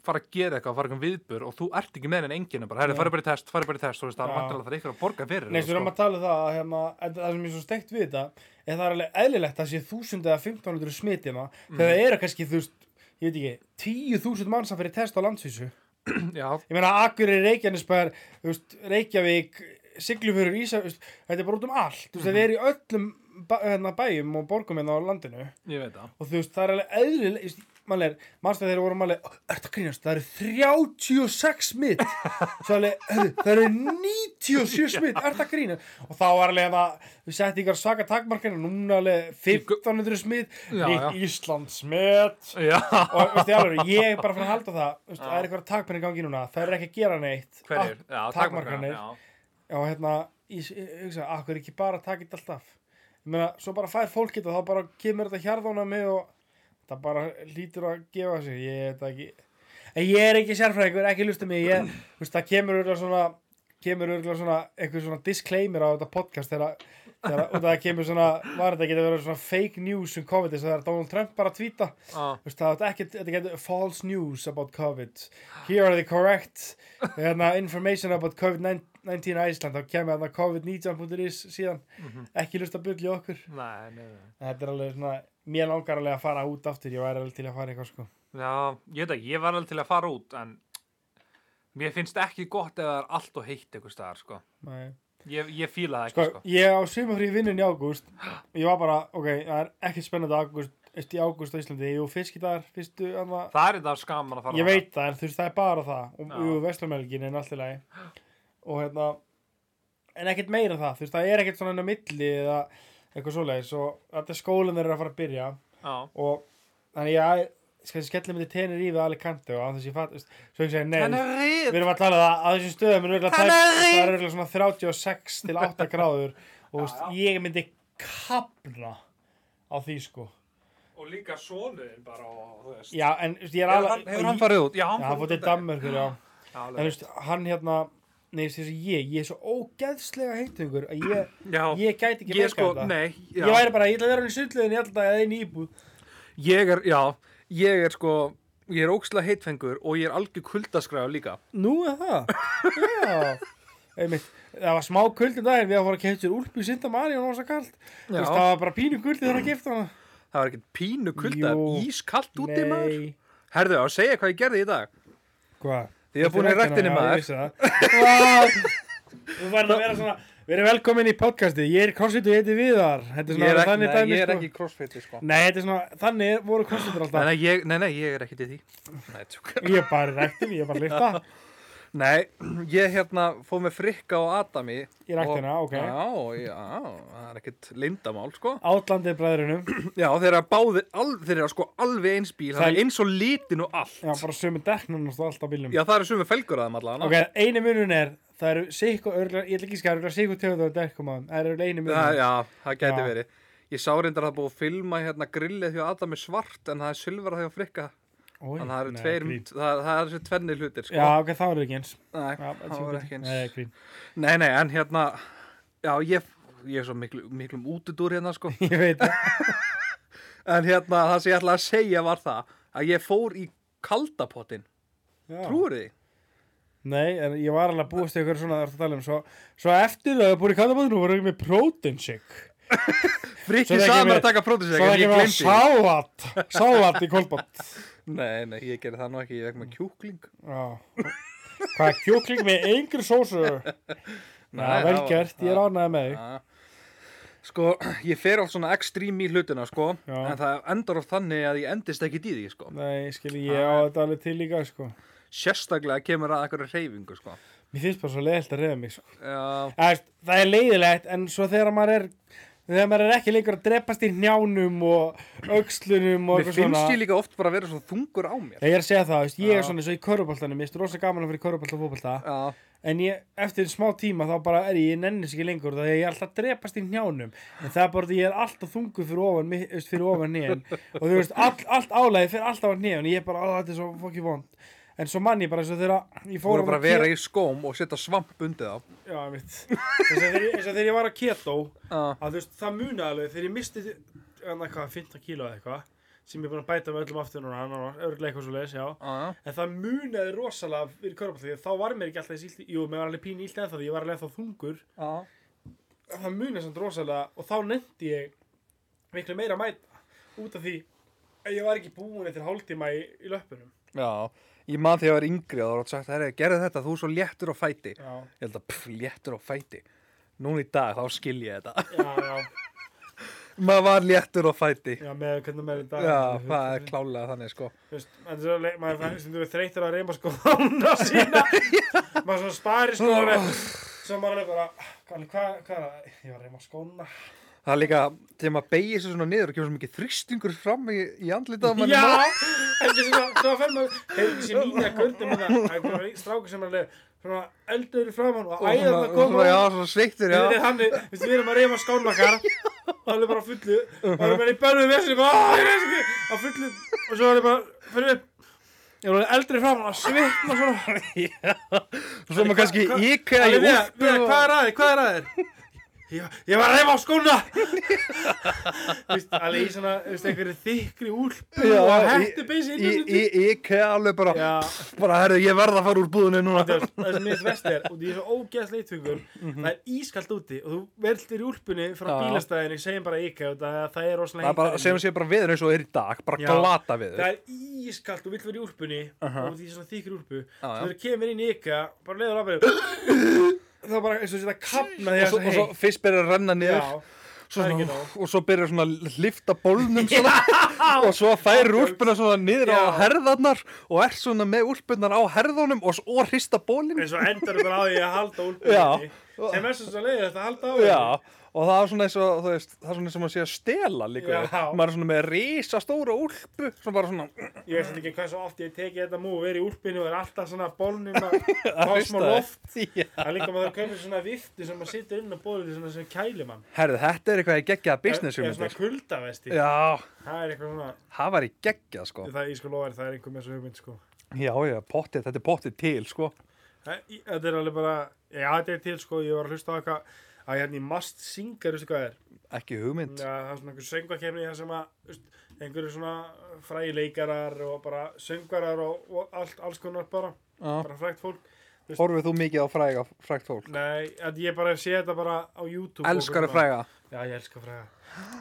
fara að gera eitthvað, fara eitthvað viðbur og þú ert ekki með henni enginu bara, herru,
Nei.
farið bara í test, farið bara í test, þú veist, það er
Já.
vantilega fyrir ykkur að borga fyrir sko.
neins, við
það,
erum að tala um það að hérna, en það sem er svo steikt við þetta er það er alveg eðlilegt að sé 1000 eða 1500 smitina
Mm.
þegar það eru kannski, þú veist, ég veit ekki 10.000 manns að fyrir test á landsvísu
sko. já,
ég meina, Akureyri, Reykjanesbær þú veist, Reykjavík, Siglufjörur Ísa, þú veist, þetta er bara út um allt
Mhm.
þú veist, þetta er í öllum bæ, hérna, bæjum og borgum hérna á landinu
ég veit það
og þú veist, það er alveg eðlileg mannlegar, mannstu að þeir voru mannlega ert að grínast, það eru 36 smitt svo alveg, heyrðu, það eru 97 smitt, ert að grínast og þá var alveg hérna, það, við settum ykkur svaka takmarkina, núna alveg 1500 smitt,
Já, já.
nýtt Íslands smitt
já,
og veistu, alveg, ég er bara fyrir að halda það veistu, það er eitthvað takmarkina í gangi núna, það er ekki að gera neitt
hverjir,
Allt-
já,
takmarkanir
takmarkanir já,
Já, hérna, ég ég hugsa, akkur ekki bara taka þetta allt af. Ég meina, svo bara fær fólk þetta, þá bara kemur þetta hjarðána með og það bara lítur að gefa sig, ég veit það ekki. En ég er ekki sérfræðingur, ekki lusta mig, ég, þú veist, það kemur örgulega svona, kemur örgulega svona, einhver svona disclaimer á þetta podcast þegar, þegar, út að það kemur svona, var þetta ekki að vera svona fake news um COVID, þess að það er Donald Trump bara að tvíta.
já,
Þú veist, það er ekki, þetta getur false news about COVID. Here are the correct hérna, information about COVID-19 í Ísland. Þá kemur hérna COVID-19.is síðan. Ekki lust að byggja okkur.
nei, nei, nei
Þetta er alveg svona, mér langar alveg að fara út aftur. Ég væri alveg til að fara eitthvað sko.
Já, ég veit ekki, ég var alveg til að fara út en mér finnst ekki gott ef það er allt og heitt eitthvað staðar, sko.
Nei.
Ég, ég fíla það
Sko,
ekki, sko.
ég á sumafrí vinnun í ágúst. Ég var bara, ok, það er ekkert spennandi ágúst, veist, í ágúst á Íslandi. Jú, fiskidagar, fyrstu, annað,
Það er þetta skaman að fara
ég
þarna.
veit það, en þú veist, það er bara það og
Já.
jú, veslamelgin er allt í lagi og hérna en ekkert meira en það, þú veist, það er ekkert svona inn á milli eða eitthvað svoleiðis og þetta er skólinn þeirra að fara að byrja
Já.
og þannig ég skal skelli mig til tenir í við alveg kanti og á þess að ég fatt, þú veist, svo ég segi nei,
Hann
þú veist,
er rít!
við erum að tala um það að þessum stöðum er örugglega
Hann er
tæp- það
rík.
er örugglega svona 36 til 8 gráður og þú veist, ég myndi kapna á því sko
Og líka sonuðin bara og, þú veist.
já, en þú veist, ég er
Hefur hann, hefur hann farið út? Já,
Já, hann fór til Danmörkur, já En þú veist, hann hérna Nei, þú veist, ég, ég er svo ógeðslega heimtingur að ég,
Já, ég,
ég gæti ekki
ég sko,
þetta.
nei. Já.
Ég væri bara, ég ætla að vera hann í sundlegin í alltaf eða inn í íbúð.
Ég er, já, ég er sko, ég er óksla heitfengur og ég er algjör kuldaskrafa líka.
Nú er það? já. Einmitt, það var smá kuldi daginn, við að fóra að kemta sér úlp í Sinta Maríu og hún var svo kalt. Þú
Já.
veist, það var bara pínu kuldi þegar að kemta hana.
Það var ekkert pínu kulda,
Jú.
ískallt úti maður.
Nei.
Herðu, að segja hvað ég gerði í dag.
Hvað?
Því ég er búin í rættinni maður.
maður. Þú verður að vera svona, við erum velkomin í podcastið, ég er Korsveit og ég heiti Viðar. Þetta er
Ég
svona
er ekki,
þannig
nei,
dæmi,
ég er
sko.
ekki crossfiti sko
Nei, þetta er svona, þannig voru Korsveitur alltaf.
Nei, nei, ég, nei, nei, ég er ekki til því Nei, tjók
Ég er bara í ræktin, ég er bara að lifta
Nei, ég hérna fóð með frikka og Adami
Í ræktina,
og-
ok.
Já, já, það er ekkit lindamál sko
Átlandið bræðrunum
Já, þeir eru báðir, al, þeir eru sko alveg eins bíl
Það
Það
er-
er eins og litin og allt
Já, bara sömu dekknum og stóð allt á bílum
Já, það eru sumið felgur að þeim allavega
Ok, eini munun er Það eru sikku, örgla, ég ætla ekki að skæra Örgla sikku tegundar að dekkum á þeim Það eru eini
það,
munun
Já, það gæti
Já.
verið Ég sá reyndar að það er búið að filma hérna grillið því að Adam er svart en það er silfra því að frikka
Oj,
Þannig að það eru
nei,
tveir,
grín.
það, það eru þessi tvennir hlutir sko
Já, ok, það var ekki eins
Nei,
Já,
það var ekki eins
Nei, grín
Nei, nei, en hérna Já, ég, ég er svo miklu, miklum útudúr hérna sko
ég veit það.
en hérna það sem ég ætla að segja var það að ég fór í kaldapottin
Já.
trúir þið?
Nei, en ég var alveg að búast ykkur svona þar að tala um svo, svo eftir það að búið í katabóðinu voru ekki með protein shake
Frikki
Svo það
Samar
kemur-
að taka prótis
Svo ekki
ég
með
glemdi því.
sálat Sálat í kolbott
nei, nei, ég gerði það nú ekki, ég vekk með kjúkling
Já. Hvað er kjúkling með engri sósu?
Nei,
Já, vel
það var-
gert, ég er ánægði með þig.
Ja. Sko, ég fer allt svona ekstrím í hlutina, sko,
Já.
en það endar oft þannig að ég endist ekki í því, sko.
Nei, skil, ég á þetta alveg til líka, sko.
Sérstaklega kemur að ekkur reyfingu, sko.
Mér finnst bara svo leiðilt að reyða mig, sko.
Já,
Æst, það er leiðilegt, en svo þegar maður er, þegar maður er ekki lengur að drepast í njánum og öxlunum og
mér
eitthvað
finnst
svona.
ég líka oft bara að vera svona þungur á mér.
Ég er að segja það, veist, ég
Já.
er svona eins og í köruboltanum, ég er rosa gaman að fyrir körubolt og fótbolta,
Já,
en ég, eftir smá tíma þá bara er ég, ég nennis ekki lengur það er ég er alltaf að drepast í njánum en það er bara því ég er alltaf þungur fyrir ofan mi- veist, fyrir ofan nýjan og þú veist, allt, allt álæði fyrir alltaf á nýjan ég er bara, "Ó, þetta er svo fokki vond en svo mann ég bara eins og þegar ég fór
voru bara að vera í skóm og setja svamp undir þá.
ke- já, einmitt. eins og þegar ég- eins og þegar ég var að keto
Já,
að þú veist, það muna alveg þegar ég misti en eitthvað 15 kíló eða eitthvað sem ég er búin að bæta með öllum aftur núna hann var örglega eitthvað svo já
já,
En það munaði rosalega fyrir körbálta því að þá var mér ekki alltaf þessi illt, jú, mér var alveg pín illt eða það því ég var alveg þá þungur.
já.
En það munaði samt rosalega og þá nefndi ég miklu meira að mæta út af því að ég var ekki búin eftir hálftíma í, í löpunum.
Já, ég man þegar ég var yngri og það var oft sagt, herri, gerðu þetta, þú er svo léttur á fæti.
Já,
Ég held að, pff, léttur á fæti. Núna í dag, þá skil ég þetta.
já, já,
Maður var léttur á fæti.
já, með hvernig maður er í dag.
Já, það er klálega þannig, sko.
Þú veist, en svo leik, maður fannst sem þú er þreytur að reyma sko þána sína. maður svona spari sko, svo maður er bara, hvað, hvað, hvað, er það? ég var að reyma skóna.
Það er líka, þegar maður beigir sér svona niður og kemur svo mikið þrýstingur fram í, í andlitað á manni.
Já, en þess að það fer maður hefur þessi nýja göndum hérna, það er einhver strákur sem er alveg svona eldur í framann og
Og
æðar
svona-
að koma
svona, Já,
út.
svona sveittur,
Þetta
já.
er hann, við veist, við erum að reyma skálmakar og hann er bara á fullu
Uh-huh.
og hann er bara í börnum vesinu bara "Ah, ég veist ekki", á fullu og svo er hann bara fyrir upp ég er alveg eldri framann að svitna svona
Og svo maður kannski
Hvað-
íkæða í
Alveg, "Veiga,
úlpu.
Veiga,
og-
hvað er aðeir, hvað er aðeir Ég, ég var að reyma á skóna Vist, alveg í svona þú veist, einhverju þykri úlpu
Já,
og
í-
hættu beinsi
í- í- í- Íkæða alveg bara,
Já.
bara, herru, ég verð að fara úr búðinu núna.
Þú veist, það sem minnst vest er og því ég er svo ógeðs leittungur það er ískalt úti og þú veldir í úlpunni frá
Mhm. Já.
bílastæðinu, segjum bara íka það, það er rosalega
Það er
heitt
bara,
þar
segjum
inni.
sér bara veður eins og er í dag, bara
Já.
glata veður.
það er ískalt og vill vera í úlpunni og því svona þykir úlpu
Uh-huh. Já, já.
svo þegar þú kemur inn í íka, bara leiður að þá bara eins og þetta kapna því að
Og svo,
það
og svo fyrst byrjar að renna niður
já,
svo,
það er ekki
svona,
nóg.
og svo byrjar svona að lifta bólnum svona, og svo færir úlpuna svona niður á
Já.
herðarnar og er svona með úlpunar á herðunum og, s- og hrista bólin
eins og endur bara á því að halda úlpunni
Já.
úti, sem er svo svo leiður að halda á
Já, og það er svona eins og, þú veist, það er svona eins og maður sé að stela líka.
Já.
Maður er svona með risa stóra úlpu, svona bara svona,
því. ég veist ekki hvað svo oft ég tekið þetta múi verið í úlpunni og er allaf svona bólnum að fá smá
þér.
loft
Já.
Það er líka maður að kaupa svona viftu sem maður situr inn á bóðinu svona sem kælir mann.
Herðu, þetta er eitthvað ég geggjað business
Eða svona
hugmyndir.
kuldavesti.
Já,
Það er eitthvað svona,
það var í geggjað, sko.
það ég sko lofa þér, það er einhver með svo hugmynd sko.
Já, já, pottið, þetta er pottið til, sko.
Það- í- Þetta er alveg bara, já þetta er til sko, ég var að hlusta á eitthvað að hérna í Mast Singer, veistu hvað það er?
Ekki hugmynd.
Já, það er svona einhver söngvakefni þar sem að veist, einhverju svona fræleikarar og bara söngvarar og, og allt, alls konar bara,
Já.
bara frægt fólk.
Horfið þú mikið á fræga, frægt fólk?
Nei, að ég bara sé þetta bara á YouTube. og
Elskar
svona.
að fræga.
Já, ég elska fræga.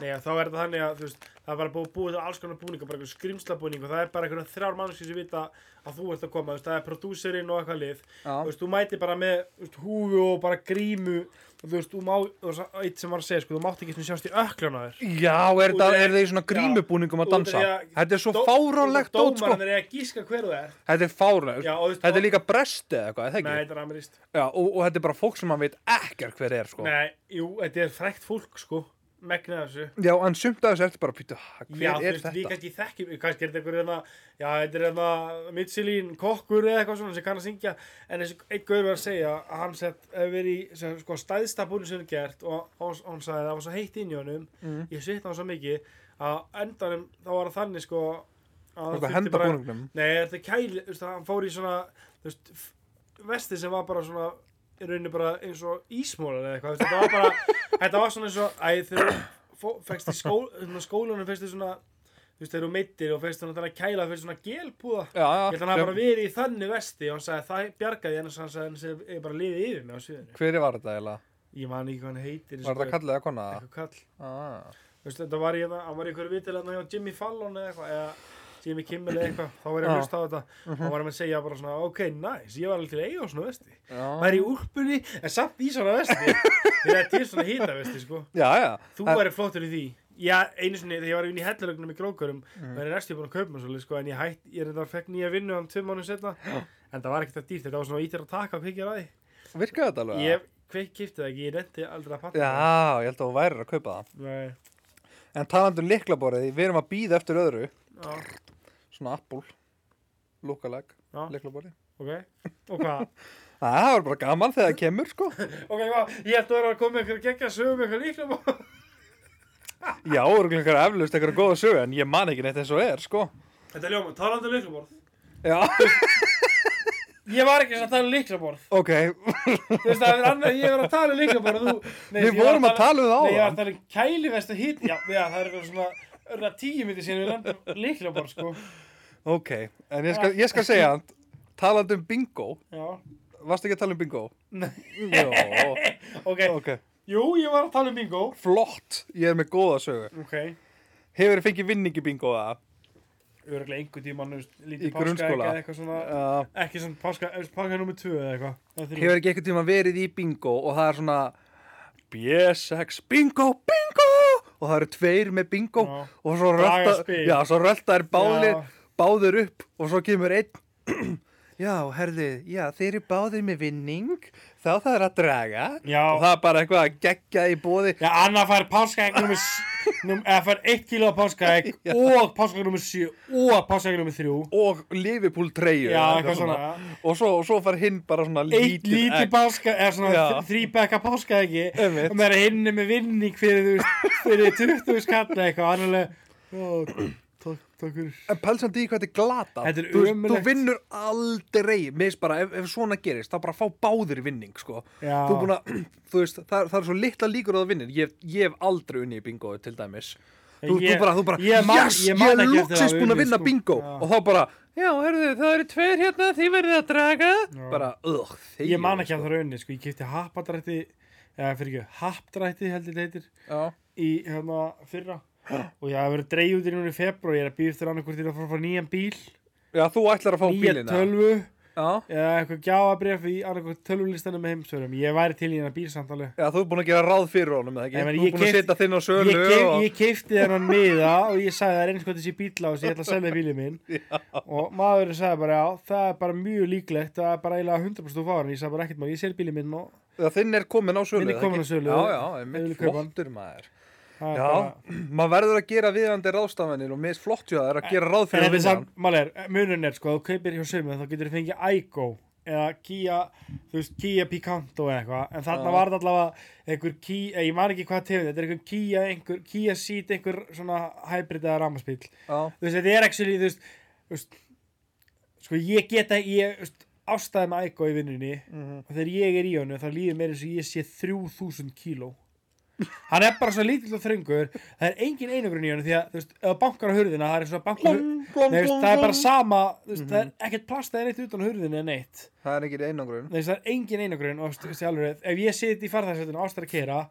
Nei, þá er þetta þannig að, þú veist, það er bara búið búið til alls konar búninga, bara einhver skrimslabúning og það er bara einhverja þrjár mannskið sem vita að þú ert að koma, þú veist, það er prodúserinn og eitthvað lið.
Já.
Þú veist, þú mæti bara með, þú veist, húfu og bara grímu og þú veist, þú má, þú veist, eitt sem var að segja, sko, þú mátt ekki svona sjást í öklan á þér.
Já, er
Út
það,
af-
er það í svona
já.
grímubúningum að
Út af því
dansa?
að
Þetta er svo
dó-
fáránlegt dót, sko.
Dómarinn er að gíska hver þú er.
Þetta er fáránlegt.
Já, og þú veist-
Þetta er líka brestið eða eitthvað, er það
Nei,
ekki?
þetta er amirist.
Já, og, og þetta er bara fólk sem maður veit ekkert hver er, sko.
Nei, jú, þetta er frækt fólk, sko, megnið af þessu.
Já, en sumt af þessu ertu bara að pýta, hver
Já, þú
er
veist,
þetta?
við kannski þekkjum, kannski er þetta einhver hérna, já, þetta er hérna Mitchellín kokkur eða eitthvað svona sem kann að syngja, en þessi einhver var að segja að hann sett, hefur verið í sem, sko, stæðsta búinu sem hann gert og og hann sagði að það var svo heitt inn í honum,
Mm.
ég svitna hann svo mikið, að á endanum þá var það þannig sko að
Þú
það
ert að
þurfti
henda
bara-
búningnum?
Nei, þetta er kæli, þú veist, hann fór í svona, þú veist, f- vesti sem var bara svona í rauninni bara eins og ísmólan eða eitthvað, þetta var bara, þetta var svona eins og, æ, þegar fækst í skó, svona skólanum, fækst þið svona, þú veist, þeir eru meittir og fækst þannig að kæla fyrir svona gelbúða.
Já, já.
Ég held að hann hafi bara verið í þannig vesti og hann sagði það bjargaði en hann sagði hann sé ég bara liðið yfir mig á sviðinu.
Hver var þetta eiginlega?
Ég man ekki hvað hann heitir. sko,
Var þetta kallið eða kona?
Eitthvað kall.
Ah.
Þú veist, þetta var ég, hann var í einhverju vitilegna hjá Jimmy Fallon eða eitthvað, eða Jimmy Kimmel eða eitthvað, þá var ég
Já. Mhm.
að hlusta á þetta. Þá var hann að segja bara svona, ok, nice, ég var alveg til að eiga á svona vesti.
Já,
Væri í úlpunni, en samt í svona vesti. Þegar þetta er svona hýta vesti, sko.
já. já.
Þú
En-
væri flottur í því. Já, einu sinni, þegar ég var inn í hellulögnum í grókurum,
Mhm.
mm. væri næstu búin að kaupa mér svolítið, sko, en ég hætt, ég reyndar fekk nýja vinnu um tvö mánu setna, en það var ekkert að dýrt, þetta var svona ítir að taka að pekja ræði.
Virkaði þetta alveg?
Ég kveik kipti það ekki, ég reyndi aldrei að patta
Já, ég held að þú værir að kaupa það.
Nei,
En talandi um liklaborðið, við erum að býða eftir öðru.
já,
Svona Apple. Lookalike.
já,
Liklaborðið.
ok, og hvað?
Það var bara gaman þegar það kemur, sko.
ok, já, ég held að vera að koma með ykkur geggja sögum ykkur líkla bóð.
Já, eru einhverja eflaust einhverja góða sögu, en ég man ekki neitt eins og er, sko.
Þetta er ljóma, talandi um líklaborð.
Já,
Ég var ekki að tala um líklaborð.
ok.
Þú veist, það er annað, ég var að tala um líklaborð og þú... Nei,
Við
ég var
vorum að tala um það
Nei, ég var
áðan.
að tala um kælivest og hýt. Já, já, það er eitthvað svona örla tíu myndi síðan við landum líklaborð, sko.
Ok, en ég skal, ég skal segja hann, talandi um bingo,
Já,
varstu ekki að tala um bingo?
Nei.
Jó,
ok.
ok.
Jú, ég var að tala um bingo.
Flott, ég er með góða sögu.
Ok,
Hefur þið fengið vinning í bingo það?
örglega einhver tíma nú
Í
lítið páska
grunnskóla.
eða eitthvað svona...
Uh,
Ekki svona páska, páska nummer 2 eða eitthvað. eða þrjú.
hefur ekki eitthvað tíma verið í bingo og það er svona B6 bingo, bingo og það eru tveir með bingo
Já.
og svo rölda,
Dragaspil.
já, svo rölda er báðir,
Já.
báðir upp og svo kemur einn já, herði, já, þeir eru báðir með vinning þá það er að draga
Já.
og það er bara eitthvað að gegja í bóði
Já, Anna fær páskaegg nummer s- num, eða fær 1 kíló páskaegg og páskaegg nummer 7 og páskaegg nummer 3
og Liverpool treyju
Já,
eða
eitthvað svona,
og svo, og svo far hinn bara svona
Eitt
lítið
lítið
egg.
páska, eða svona
Já.
þrýbekka páskaeggi
Einmitt.
og maður er hinni með vinning fyrir, þú veist, fyrir 20 skalla eitthvað annaðlega Já, takk, takk fyrir
En pælsandi í hvað þetta er glata
Þetta er
þú, veist, þú
ömurlegt.
vinnur aldrei Mér finnst bara, ef, ef svona gerist þá bara fá báðir vinning sko.
Já.
þú, búna, þú veist, það, það er svo litla líkur á að vinna ég, ég hef aldrei unni í bingo til dæmis Þú, þú
Ég-
bara, þú bara,
ég man-
yes,
ég
ég,
man
er
ekki eftir
loksins
að hafa
búin að
unnið,
vinna
sko.
bingo
Já.
og þá bara, já, herðu, það eru tveir hérna þið verðið að draga bara, ögh, þeir
Ég man ekki að það rauninni, sko, ég kipti happadrætti eða fyrir ekki, hapdrætti heldur þetta heitir
Já,
í hérna fyrra og ég hef verið dreigð út í núna í februar ég er að býða eftir annarkur til að fara að fá nýjan bíl
já þú ætlar að fá
nýja
bílina
tölvu
já.
eða eitthvað gjáabref í annarkoð tölvulistanum með heimsverjum ég væri til í hennar bílsamtali
já, þú er búin að gera ráð fyrir honum eða ekki?
Ég meina,
Þú
ég
er búin að
keypt-
setja þinn á
ég,
sölu
kef,
og...
ég kefti þennan miða og ég sagði það er eins og þessi bíl á þessi ég ætla að selja bílið minn og maðurinn sagði bara já það er bara mjög líklegt það er bara eiginlega 100% fáran ég sagði bara ekkert maður ég sel bílið minn og
Já, þinn er komin á sölu.
Minn er
eða
kominn
ekki?
á sölu.
Já, já,
Ég vil
einmitt
kaupa hann.
flottur maður.
það er
Já,
bara-
maður verður að gera viðandi ráðstafanir og mér er flott hjá þær að gera ráð
en
fyrir að
þetta er
vinna
samt málir munun er sko þú kaupir hjá sömu þá getur þú fengið Aigo eða Kia þú veist Kia Picanto eða eitthvað en þarna
Já.
var þetta allavega einhver Kia eh, ég man ekki hvað tegund þetta er einhver Kia einhver Kia Ceed einhver svona hybrid eða ramaspíl
hann.
þú veist, þetta er actually, þú veist, þú veist sko, ég geta, ég, þú veist, ástæði með Aiko í vinnunni
Mhm.
og þegar ég er í honum, þá líður mér eins og ég sé 3000 kíló hann er bara svo lítill og þröngur það er engin einogrun í honum því að, þú veist, ef þú bankar á hurðina, það er svo bankar
Glong, glong,
Nei, þú veist,
glong,
það er bara
glong.
sama, þú veist, það
Mhm.
er ekkert plast það er neitt utan á hurðinu en neitt
Það er ekki einangrun.
Nei, það er engin einogrun og þú veist, í alveg, ef ég seti í farðarsveitinu ástæði að kera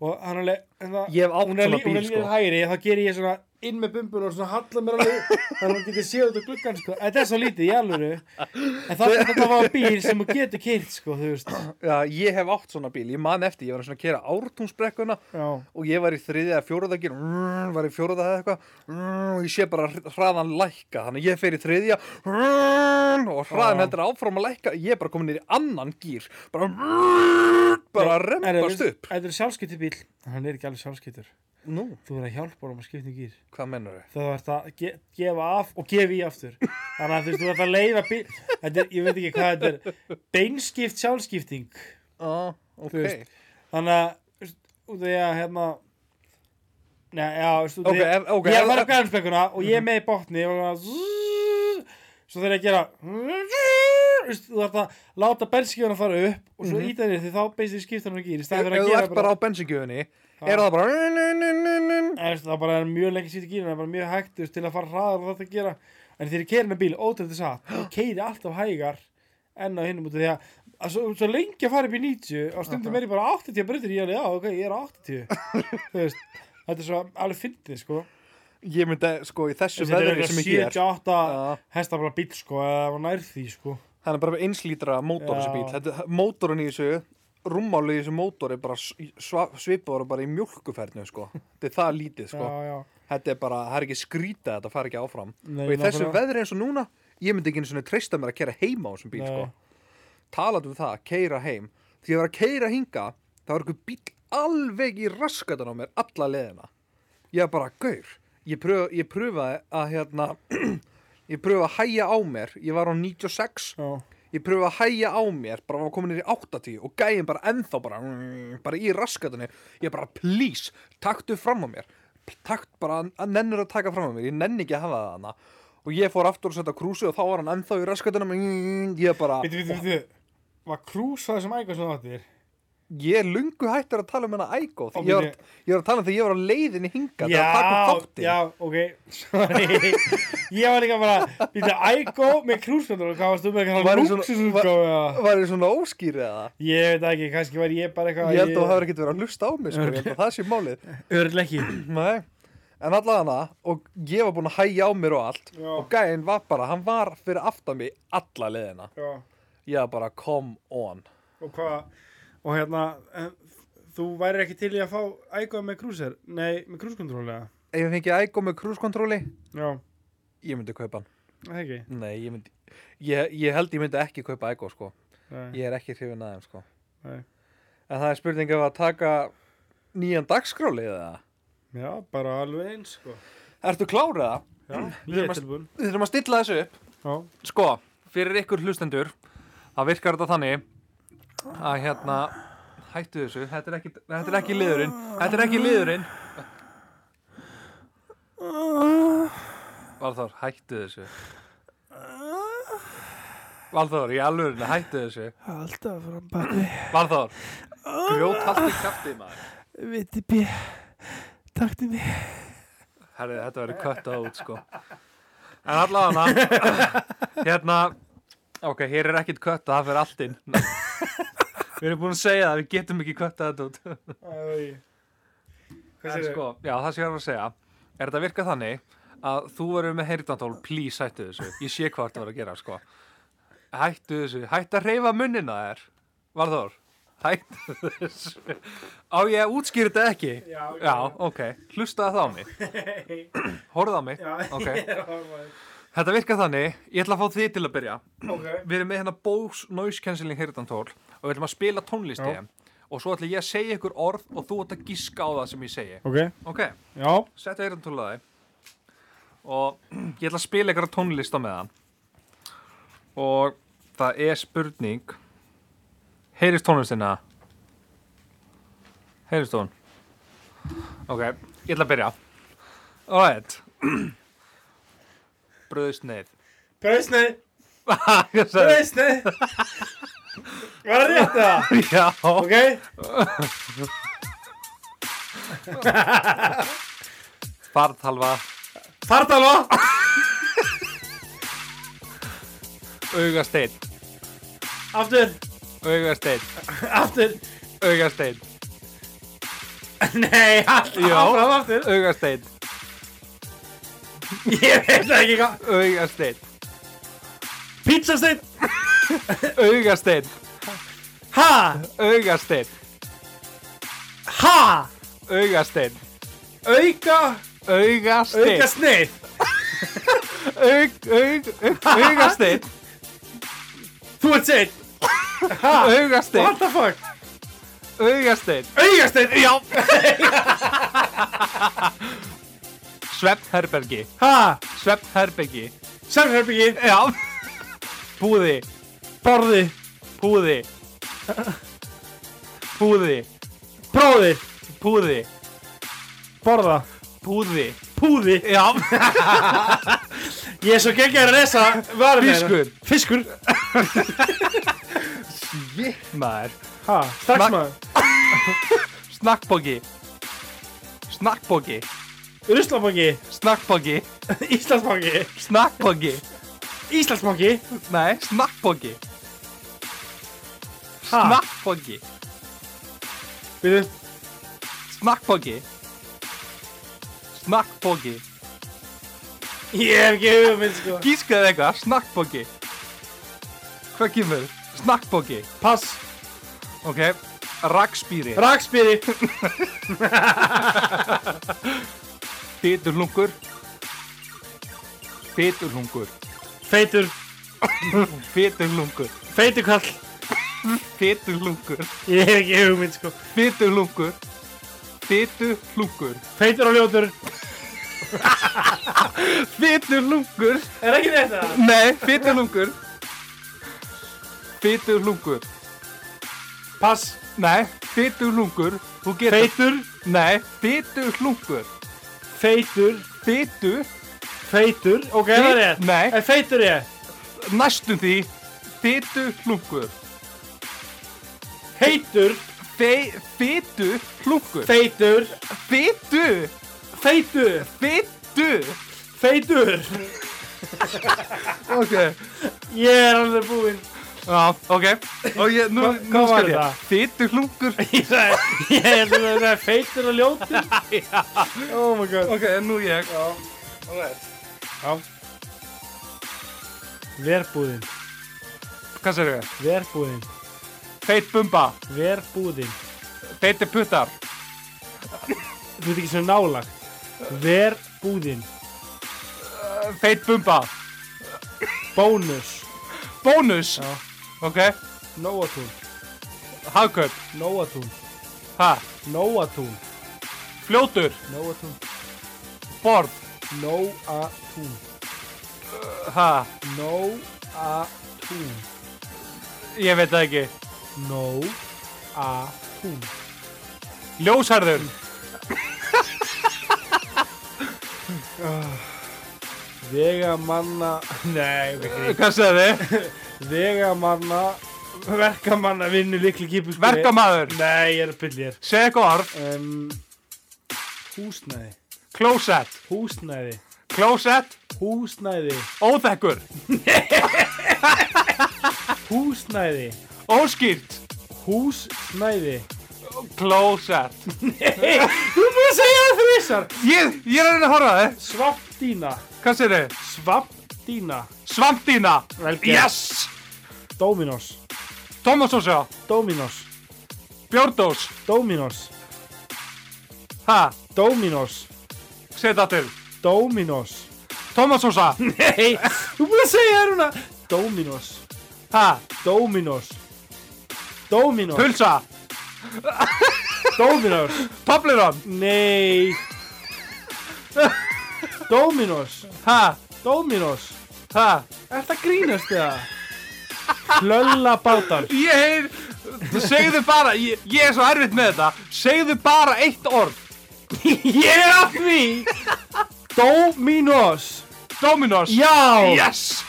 og hann alveg en það-
Ég hef átt
hún er,
svona
lí- hún er lífið
bíl, sko.
hægri þá ger ég svona inn með bumbun og svona halla mér alveg þannig að hún getur séð út á gluggan sko. þetta er svo lítið, ég alveg en það er þetta var bíl sem hún getur kyrt sko, þú veist
Já, ég hef átt svona bíl, ég man eftir, ég var svona að kera ártúnsbrekkuna
já,
og ég var í þriðja eða fjórða gír, mm, var í fjórða eða eitthvað, mm, og ég sé bara hr- hraðan lækka, þannig að ég fer í þriðja mm, og hraðan
Já.
heldur áfram að lækka, ég er bara komin niður í annan gír, bara, mm, bara
Er-
að
er-
rempast upp.
þetta er sjálfskyttu bíl, hann er ekki alveg sjálfskyttur
Nú,
þú verður að hjálpa honum að skipta um gýr
hvað mennur þau?
þá ert að ge gefa af og gefa í aftur þannig að þú veist, þú ert að leiða bíl þetta er, ég veit ekki hvað þetta er beinskipt sjálfskipting
Ah, ok.
veist, þannig að þú veist, út af því að hérna Nei, já, þú veist, út af
Ok,
því
ef- ok,
Ég er
ef-
að
Mhm.
fara upp grænsbleikuna og ég er með í botni og það Svo þegar ég að gera veist, þú þarf að láta bensinkjöfuna fara upp og svo mm -hmm. íta henni því þá beisir skiptir hann ekki í
Mhm. Ef
staðið fyrir
ef
að
þú
gera
ert bara á bensinkjöfunni er það bara
Eða, veist, það bara er mjög lengi sýtt í gýrinu, það er bara mjög hægt þú veist, til að fara hraðar og þetta að gera en þegar ég keiri með bíl, ótrúlega satt þú keiri alltaf hægar enn á hinum út af því að, að svo, svo lengi að fara upp í 90 á stundum er ég bara 80 breytir ég er alveg, já, ok, ég er á 80 þú veist, þetta er svo alveg fyndið sko,
Ég myndi, sko, í þessu
þetta er
veðri sem ekki er
78
Já.
hestafla bíl sko, eða var nær því sko
Hann er bara einslítra mótor
Já.
þessi bíl Þetta, Mótorun í þessu, rúmmálið í þessu mótor er bara svipaður bara í mjölkuferðinu, sko Þetta er það lítið, sko
já, já,
Þetta er bara, það er ekki skrýta þetta fara ekki áfram
Nei,
Og í þessu
nákvæmlega.
veðri eins og núna Ég myndi ekki einu svona treysta mér að kera heima á þessum bíl,
Nei.
sko Talandi um það, keira heim Því ég var að keira hinga Það var einhver bíl alveg í raskatan á mér Alla leðina Ég var bara, gaur Ég, pröf, ég pröfaði að hérna Ég pröfaði að hæja á mér Ég var á 96
já,
Ég pröfaði að hæja á mér, bara var komin niður í 80 og gæin bara ennþá bara, mm, bara í raskatunni. Ég bara, please, taktu fram á mér. P- Takt bara, að nennur að taka fram á mér. Ég nenni ekki að hafa það hana. Og ég fór aftur að setja krúsi og þá var hann ennþá í raskatunum. Ég bara,
veitu, veitu, veitu var krús það sem ægur sem þú áttir
ég er lungu hættur að tala um hennar ægó.
Ó,
Ég, var-
minni-
ég var að tala um þegar ég var á leiðinni hingað til að taka
já,
upp þáttinn.
já, ok Sorry. ég var líka bara býta ægó með krúskontur og hvað varst þú með
Var
eitthvað
ég svona-
lúksusútgáfu eða?
Var ég svona óskýr eða?
ég veit það ekki, kannski var ég bara eitthvað
Ég held að þú hafði ekkert verið að hlusta á mig, sko. Ég held að það sé málið.
örleggi
Nei, en allavega og ég var búinn að hægja á mér og allt
Já.
og gæinn var bara, hann var fyrir aftan mig alla leiðina.
og
Ég var bara, come on.
hvað og hérna, eh, þú væri ekki til í að fá ægó með krúser nei, með krúskontrúlega
Ef ég fengi ægó með krúskontróli,
já,
ég myndi kaupa hann.
það ekki
Nei, ég myndi, ég, ég held ég myndi ekki kaupa ægó, sko.
Nei,
Ég er ekki hrifin aðeins, sko.
nei.
En það er skilning ef að taka nýjan dagskráli eða?
já, bara alveg eins sko.
Ertu klárið það?
já, ég
Við erum
er
að-
tilbúin
Við þurfum að stilla þessu upp.
já,
sko, fyrir ykkur hlustendur það virkar þetta þannig að hérna hættu þessu, þetta er ekki, þetta er ekki liðurinn þetta er ekki liðurinn Valþór, hættu þessu Valþór, í alvörinu, hættu þessu
Alltaf fram baki
Valþór, grjót haldi kæftið maður
Viti B Takti mig
Herri, þetta verður köttað út sko En allavega Hérna Ok, hér er ekkit köttað, það fyrir allt inn Við erum búin að segja það Við getum ekki köttað þetta út
það er
En sko, já, það sem ég var að segja Er þetta virkað þannig að þú verður með heyrðantól Please, hættu þessu, ég sé hvað þetta var að gera sko Hættu þessu Hættu að reyfa munnina þér Varðór, hættu þessu Á ég að útskýra þetta ekki
Já, ok.
já ok, hlustaði það á mig Horfðu á mig Ok. Þetta virkar þannig, ég ætla að fá þið til að byrja
ok
Við erum með hérna Bose Noise Cancelling Heyrðantól og við ætlum að spila tónlist í
Já.
þeim og svo ætla ég að segja ykkur orð og þú ætla að gíska á það sem ég segi
ok,
Ok,
já
setja heyrðantól að þið og ég ætla að spila ykkur tónlist á meðan og það er spurning Heyrist tónlistina? Heyrist hún? Ok, ég ætla að byrja Alright Bröðist neyð
Brauðsneið,
Ég sagði-
brauðsneið Var það rétt það?
Já,
Ok
fartalva,
Fartalva
augasteinn,
Aftur,
augasteinn,
aftur
augasteinn,
Nei, allt
Já.
áfram aftur
augasteinn,
Ég veit það ekki hvað
augasteinn,
Pizzasteinn
augasteinn,
Ha,
augasteinn,
ha
augasteinn,
Auka, auka
augasteinn,
sneið
aug, aug, aug, augasteinn,
Þú ert seinn
augasteinn,
What the fuck
augasteinn,
Augasteinn, já
sveppherbergi,
Ha,
sveppherbergi,
sjálfherbyggi
já, búði,
Borði,
búði, búði,
bróði
búði,
Borða,
búði,
púði
já,
Ég er svo geggjað að resa varum
Fiskur.
Fiskur
Jitt maður
Ha, strax
Smak-
maður
Snakkbóki Snakkbóki
Ruslabangi
Snakkbóki
Íslandsbangi
Snakkbóki
Íslandsbangi
Nei, snakkbóki
Ha,
Snakkbóki
við
Snakkbóki Snakkbóki
Ég hef ekki hugmynd sko
Gískaðu eitthvað, snakkbóki Hvað kemur? Snakkbóki
Pass
Ok, rakspýri
Rakspýri
Biturlungur Biturlungur
Feitur
Biturlungur
Feitukall
Biturlungur
Ég hef ekki hugmynd sko
Biturlungur Biturlungur
Feitur og ljótur
Biturlungur
Er ekki þetta?
Nei, biturlungur Biturlungur
Pass
Nei, biturlungur Þú getur
Feitur
Nei, biturlungur
Feitur
Bitur
Feitur Ok, er það rétt?
Nei.
Er feitur ég?
Næstum því Biturlungur
Heitur
Fe, Biturlungur Lungur
Feitur
Bitur
Feitur
Bitur
Feitur
Ok
Ég er alveg búinn
Já, ok Og ég, nú,
Hva-
nú
hvað var
skal
þetta?
ég Biturlungur
Ég sagði, ég held að það er feitur og ljótur Oh my god
Ok, nú ég
Já Verbúðin,
Hvað sér ég?
verbúðin,
Feit bumba
verbúðin
Feiti puttar
Þú veit ekki sem nálagt Verbúðin,
Feit bumba
bónus
Bónus
Já.
Ok
Nóatún,
Hagkaup
nóatún,
Ha
nóatún
Fljótur
Nóatún,
Borð
nóatún,
Ha
nóatún
Ég veit það ekki
Nóatún
Ljósarður
Mm. Vegamanna, nei, ok
Hvað sagði þið?
Vegamanna, verkamanna vinnu líkli kýpus
Verkamaður
Nei, ég er að byrja þér
Segð eitthvað orð
um, Húsnæði
Klósett
Húsnæði
Klósett
Húsnæði
Óþekkur
Húsnæði
Óskýrt
Húsnæði
Klósett
Hei, þú múið að segja það þrísar
Ég, ég er að reyna að horfa á þið
Svampdýna
Hvað segir þið?
Svampdýna
Svampdýna
Vel gert.
Yes
Dominos
Tómasósa
Dominos
Bjórdós
Dominos
Ha
Dominos
Segð það til
Dominos
Tómasósa
Hei, þú múið að segja það núna Dominos
Ha
Dominos Dominos
Pulsa
Dominos
Pablirón
Nei Dominos
Ha
Dominos
Ha
Er það grínast eða? Hlölla bátar
Ég heyr Segðu bara ég, ég er svo erfitt með þetta Segðu bara eitt orð
Ég er að því Dominos
Dominos
Já
Yes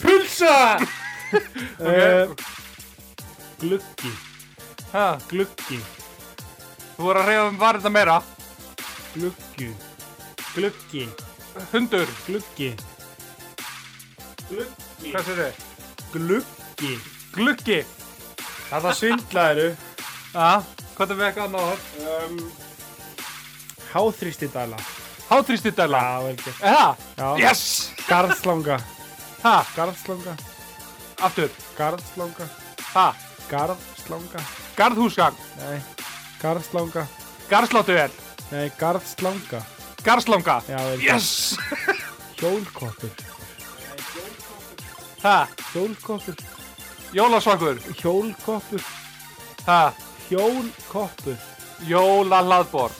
Pulsa uh, Gluggi
Ha
Gluggi
Þú voru að reyða um varða meira.
Gluggi Gluggi
Hundur,
Gluggi Gluggi
hvað sér þið?
Gluggi
Gluggi.
Það það svindlaðiru
Já, hvað er með eitthvað annað orð?
um, Háþrýstidæla
Háþrýstidæla.
Já, vel gert
Er það?
Já.
Yes!
Garðslanga
Ha,
Garðslanga
aftur.
Garðslanga
Ha,
Garðslanga
garðhúsgang.
Nei Garðslanga
Garðsláttuvel.
Nei, garðslanga
Garðslanga.
Já, vel gert.
Yes!
Hjólkoppur
Ha,
Hjólkoppur
jólasvangur.
Hjólkoppur
Ha,
Hjólkoppur
jólalaðbor.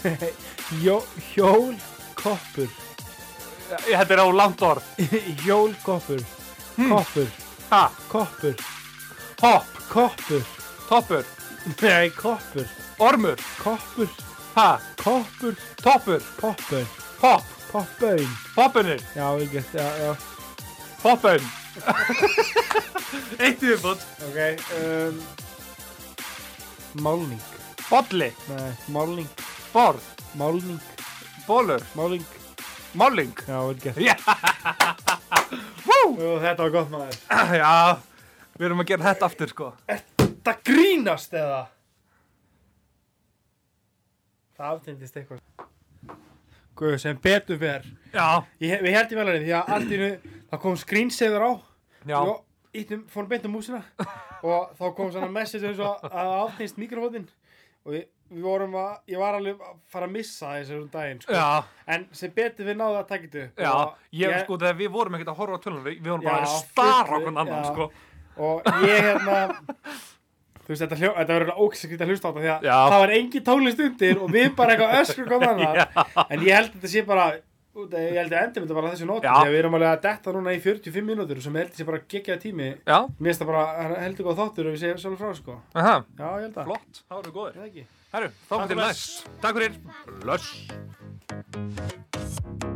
Hjó, Hjólkoppur
Þetta er á langt orð.
Hjólkoppur
Hmm.
Koppur
Ha,
Koppur
hopp,
Koppur
toppur,
Nei, koppur
ormur.
Koppur
Ha,
Koppur
toppur,
Koppur
hopp,
Koppun
poppunir.
Já, ekki, já, já
Poppum Eitt í viðbútt
Ok, um, málning,
Bolli,
nei, málning,
borð,
málning,
bólur,
málning,
máling
já, vel gert.
Já. Vú.
Jú, þetta var gott maður.
Já, við erum að gera þetta aftur sko
Þetta grínast eða? Það aftindist eitthvað. Guð, sem betur fer.
Já,
Ég, við hertum vel að því að allt í nu, það kom screensaver á.
já,
og íttum, fórum beint um músina og þá kom svona message eins og að aftýnst mikrofónin og ég, við vorum að, ég var alveg að fara að missa þessu um daginn sko.
já,
en sem betur við náðum að taka þetta upp
já
og,
Ég, sko, þegar við vorum ekkert að horfa á tölunum Við, við vorum bara
Já,
að stara
fullu,
okkur annan
já.
sko
og ég hérna þú veist, þetta, hljó, þetta verður ógæskrið að hlusta á þetta því að
Já.
það var engin tónlist undir og við bara eitthvað öskur kom annar en ég held að þetta sé bara út af- ég held að endur þetta bara á þessu nótum
Já.
því að við erum alveg að detta núna í 45 mínútur sem ég held að sé bara geggjaði tími
Já,
mér finnst það bara heldur góð þáttur og við segjum sjálf frá sko
aha,
Já, ég held að.
flott, þá eru góðir
Það ekki.
Herru, þá
Takk
komum til
fyrir.
næst Takk fyrir Löss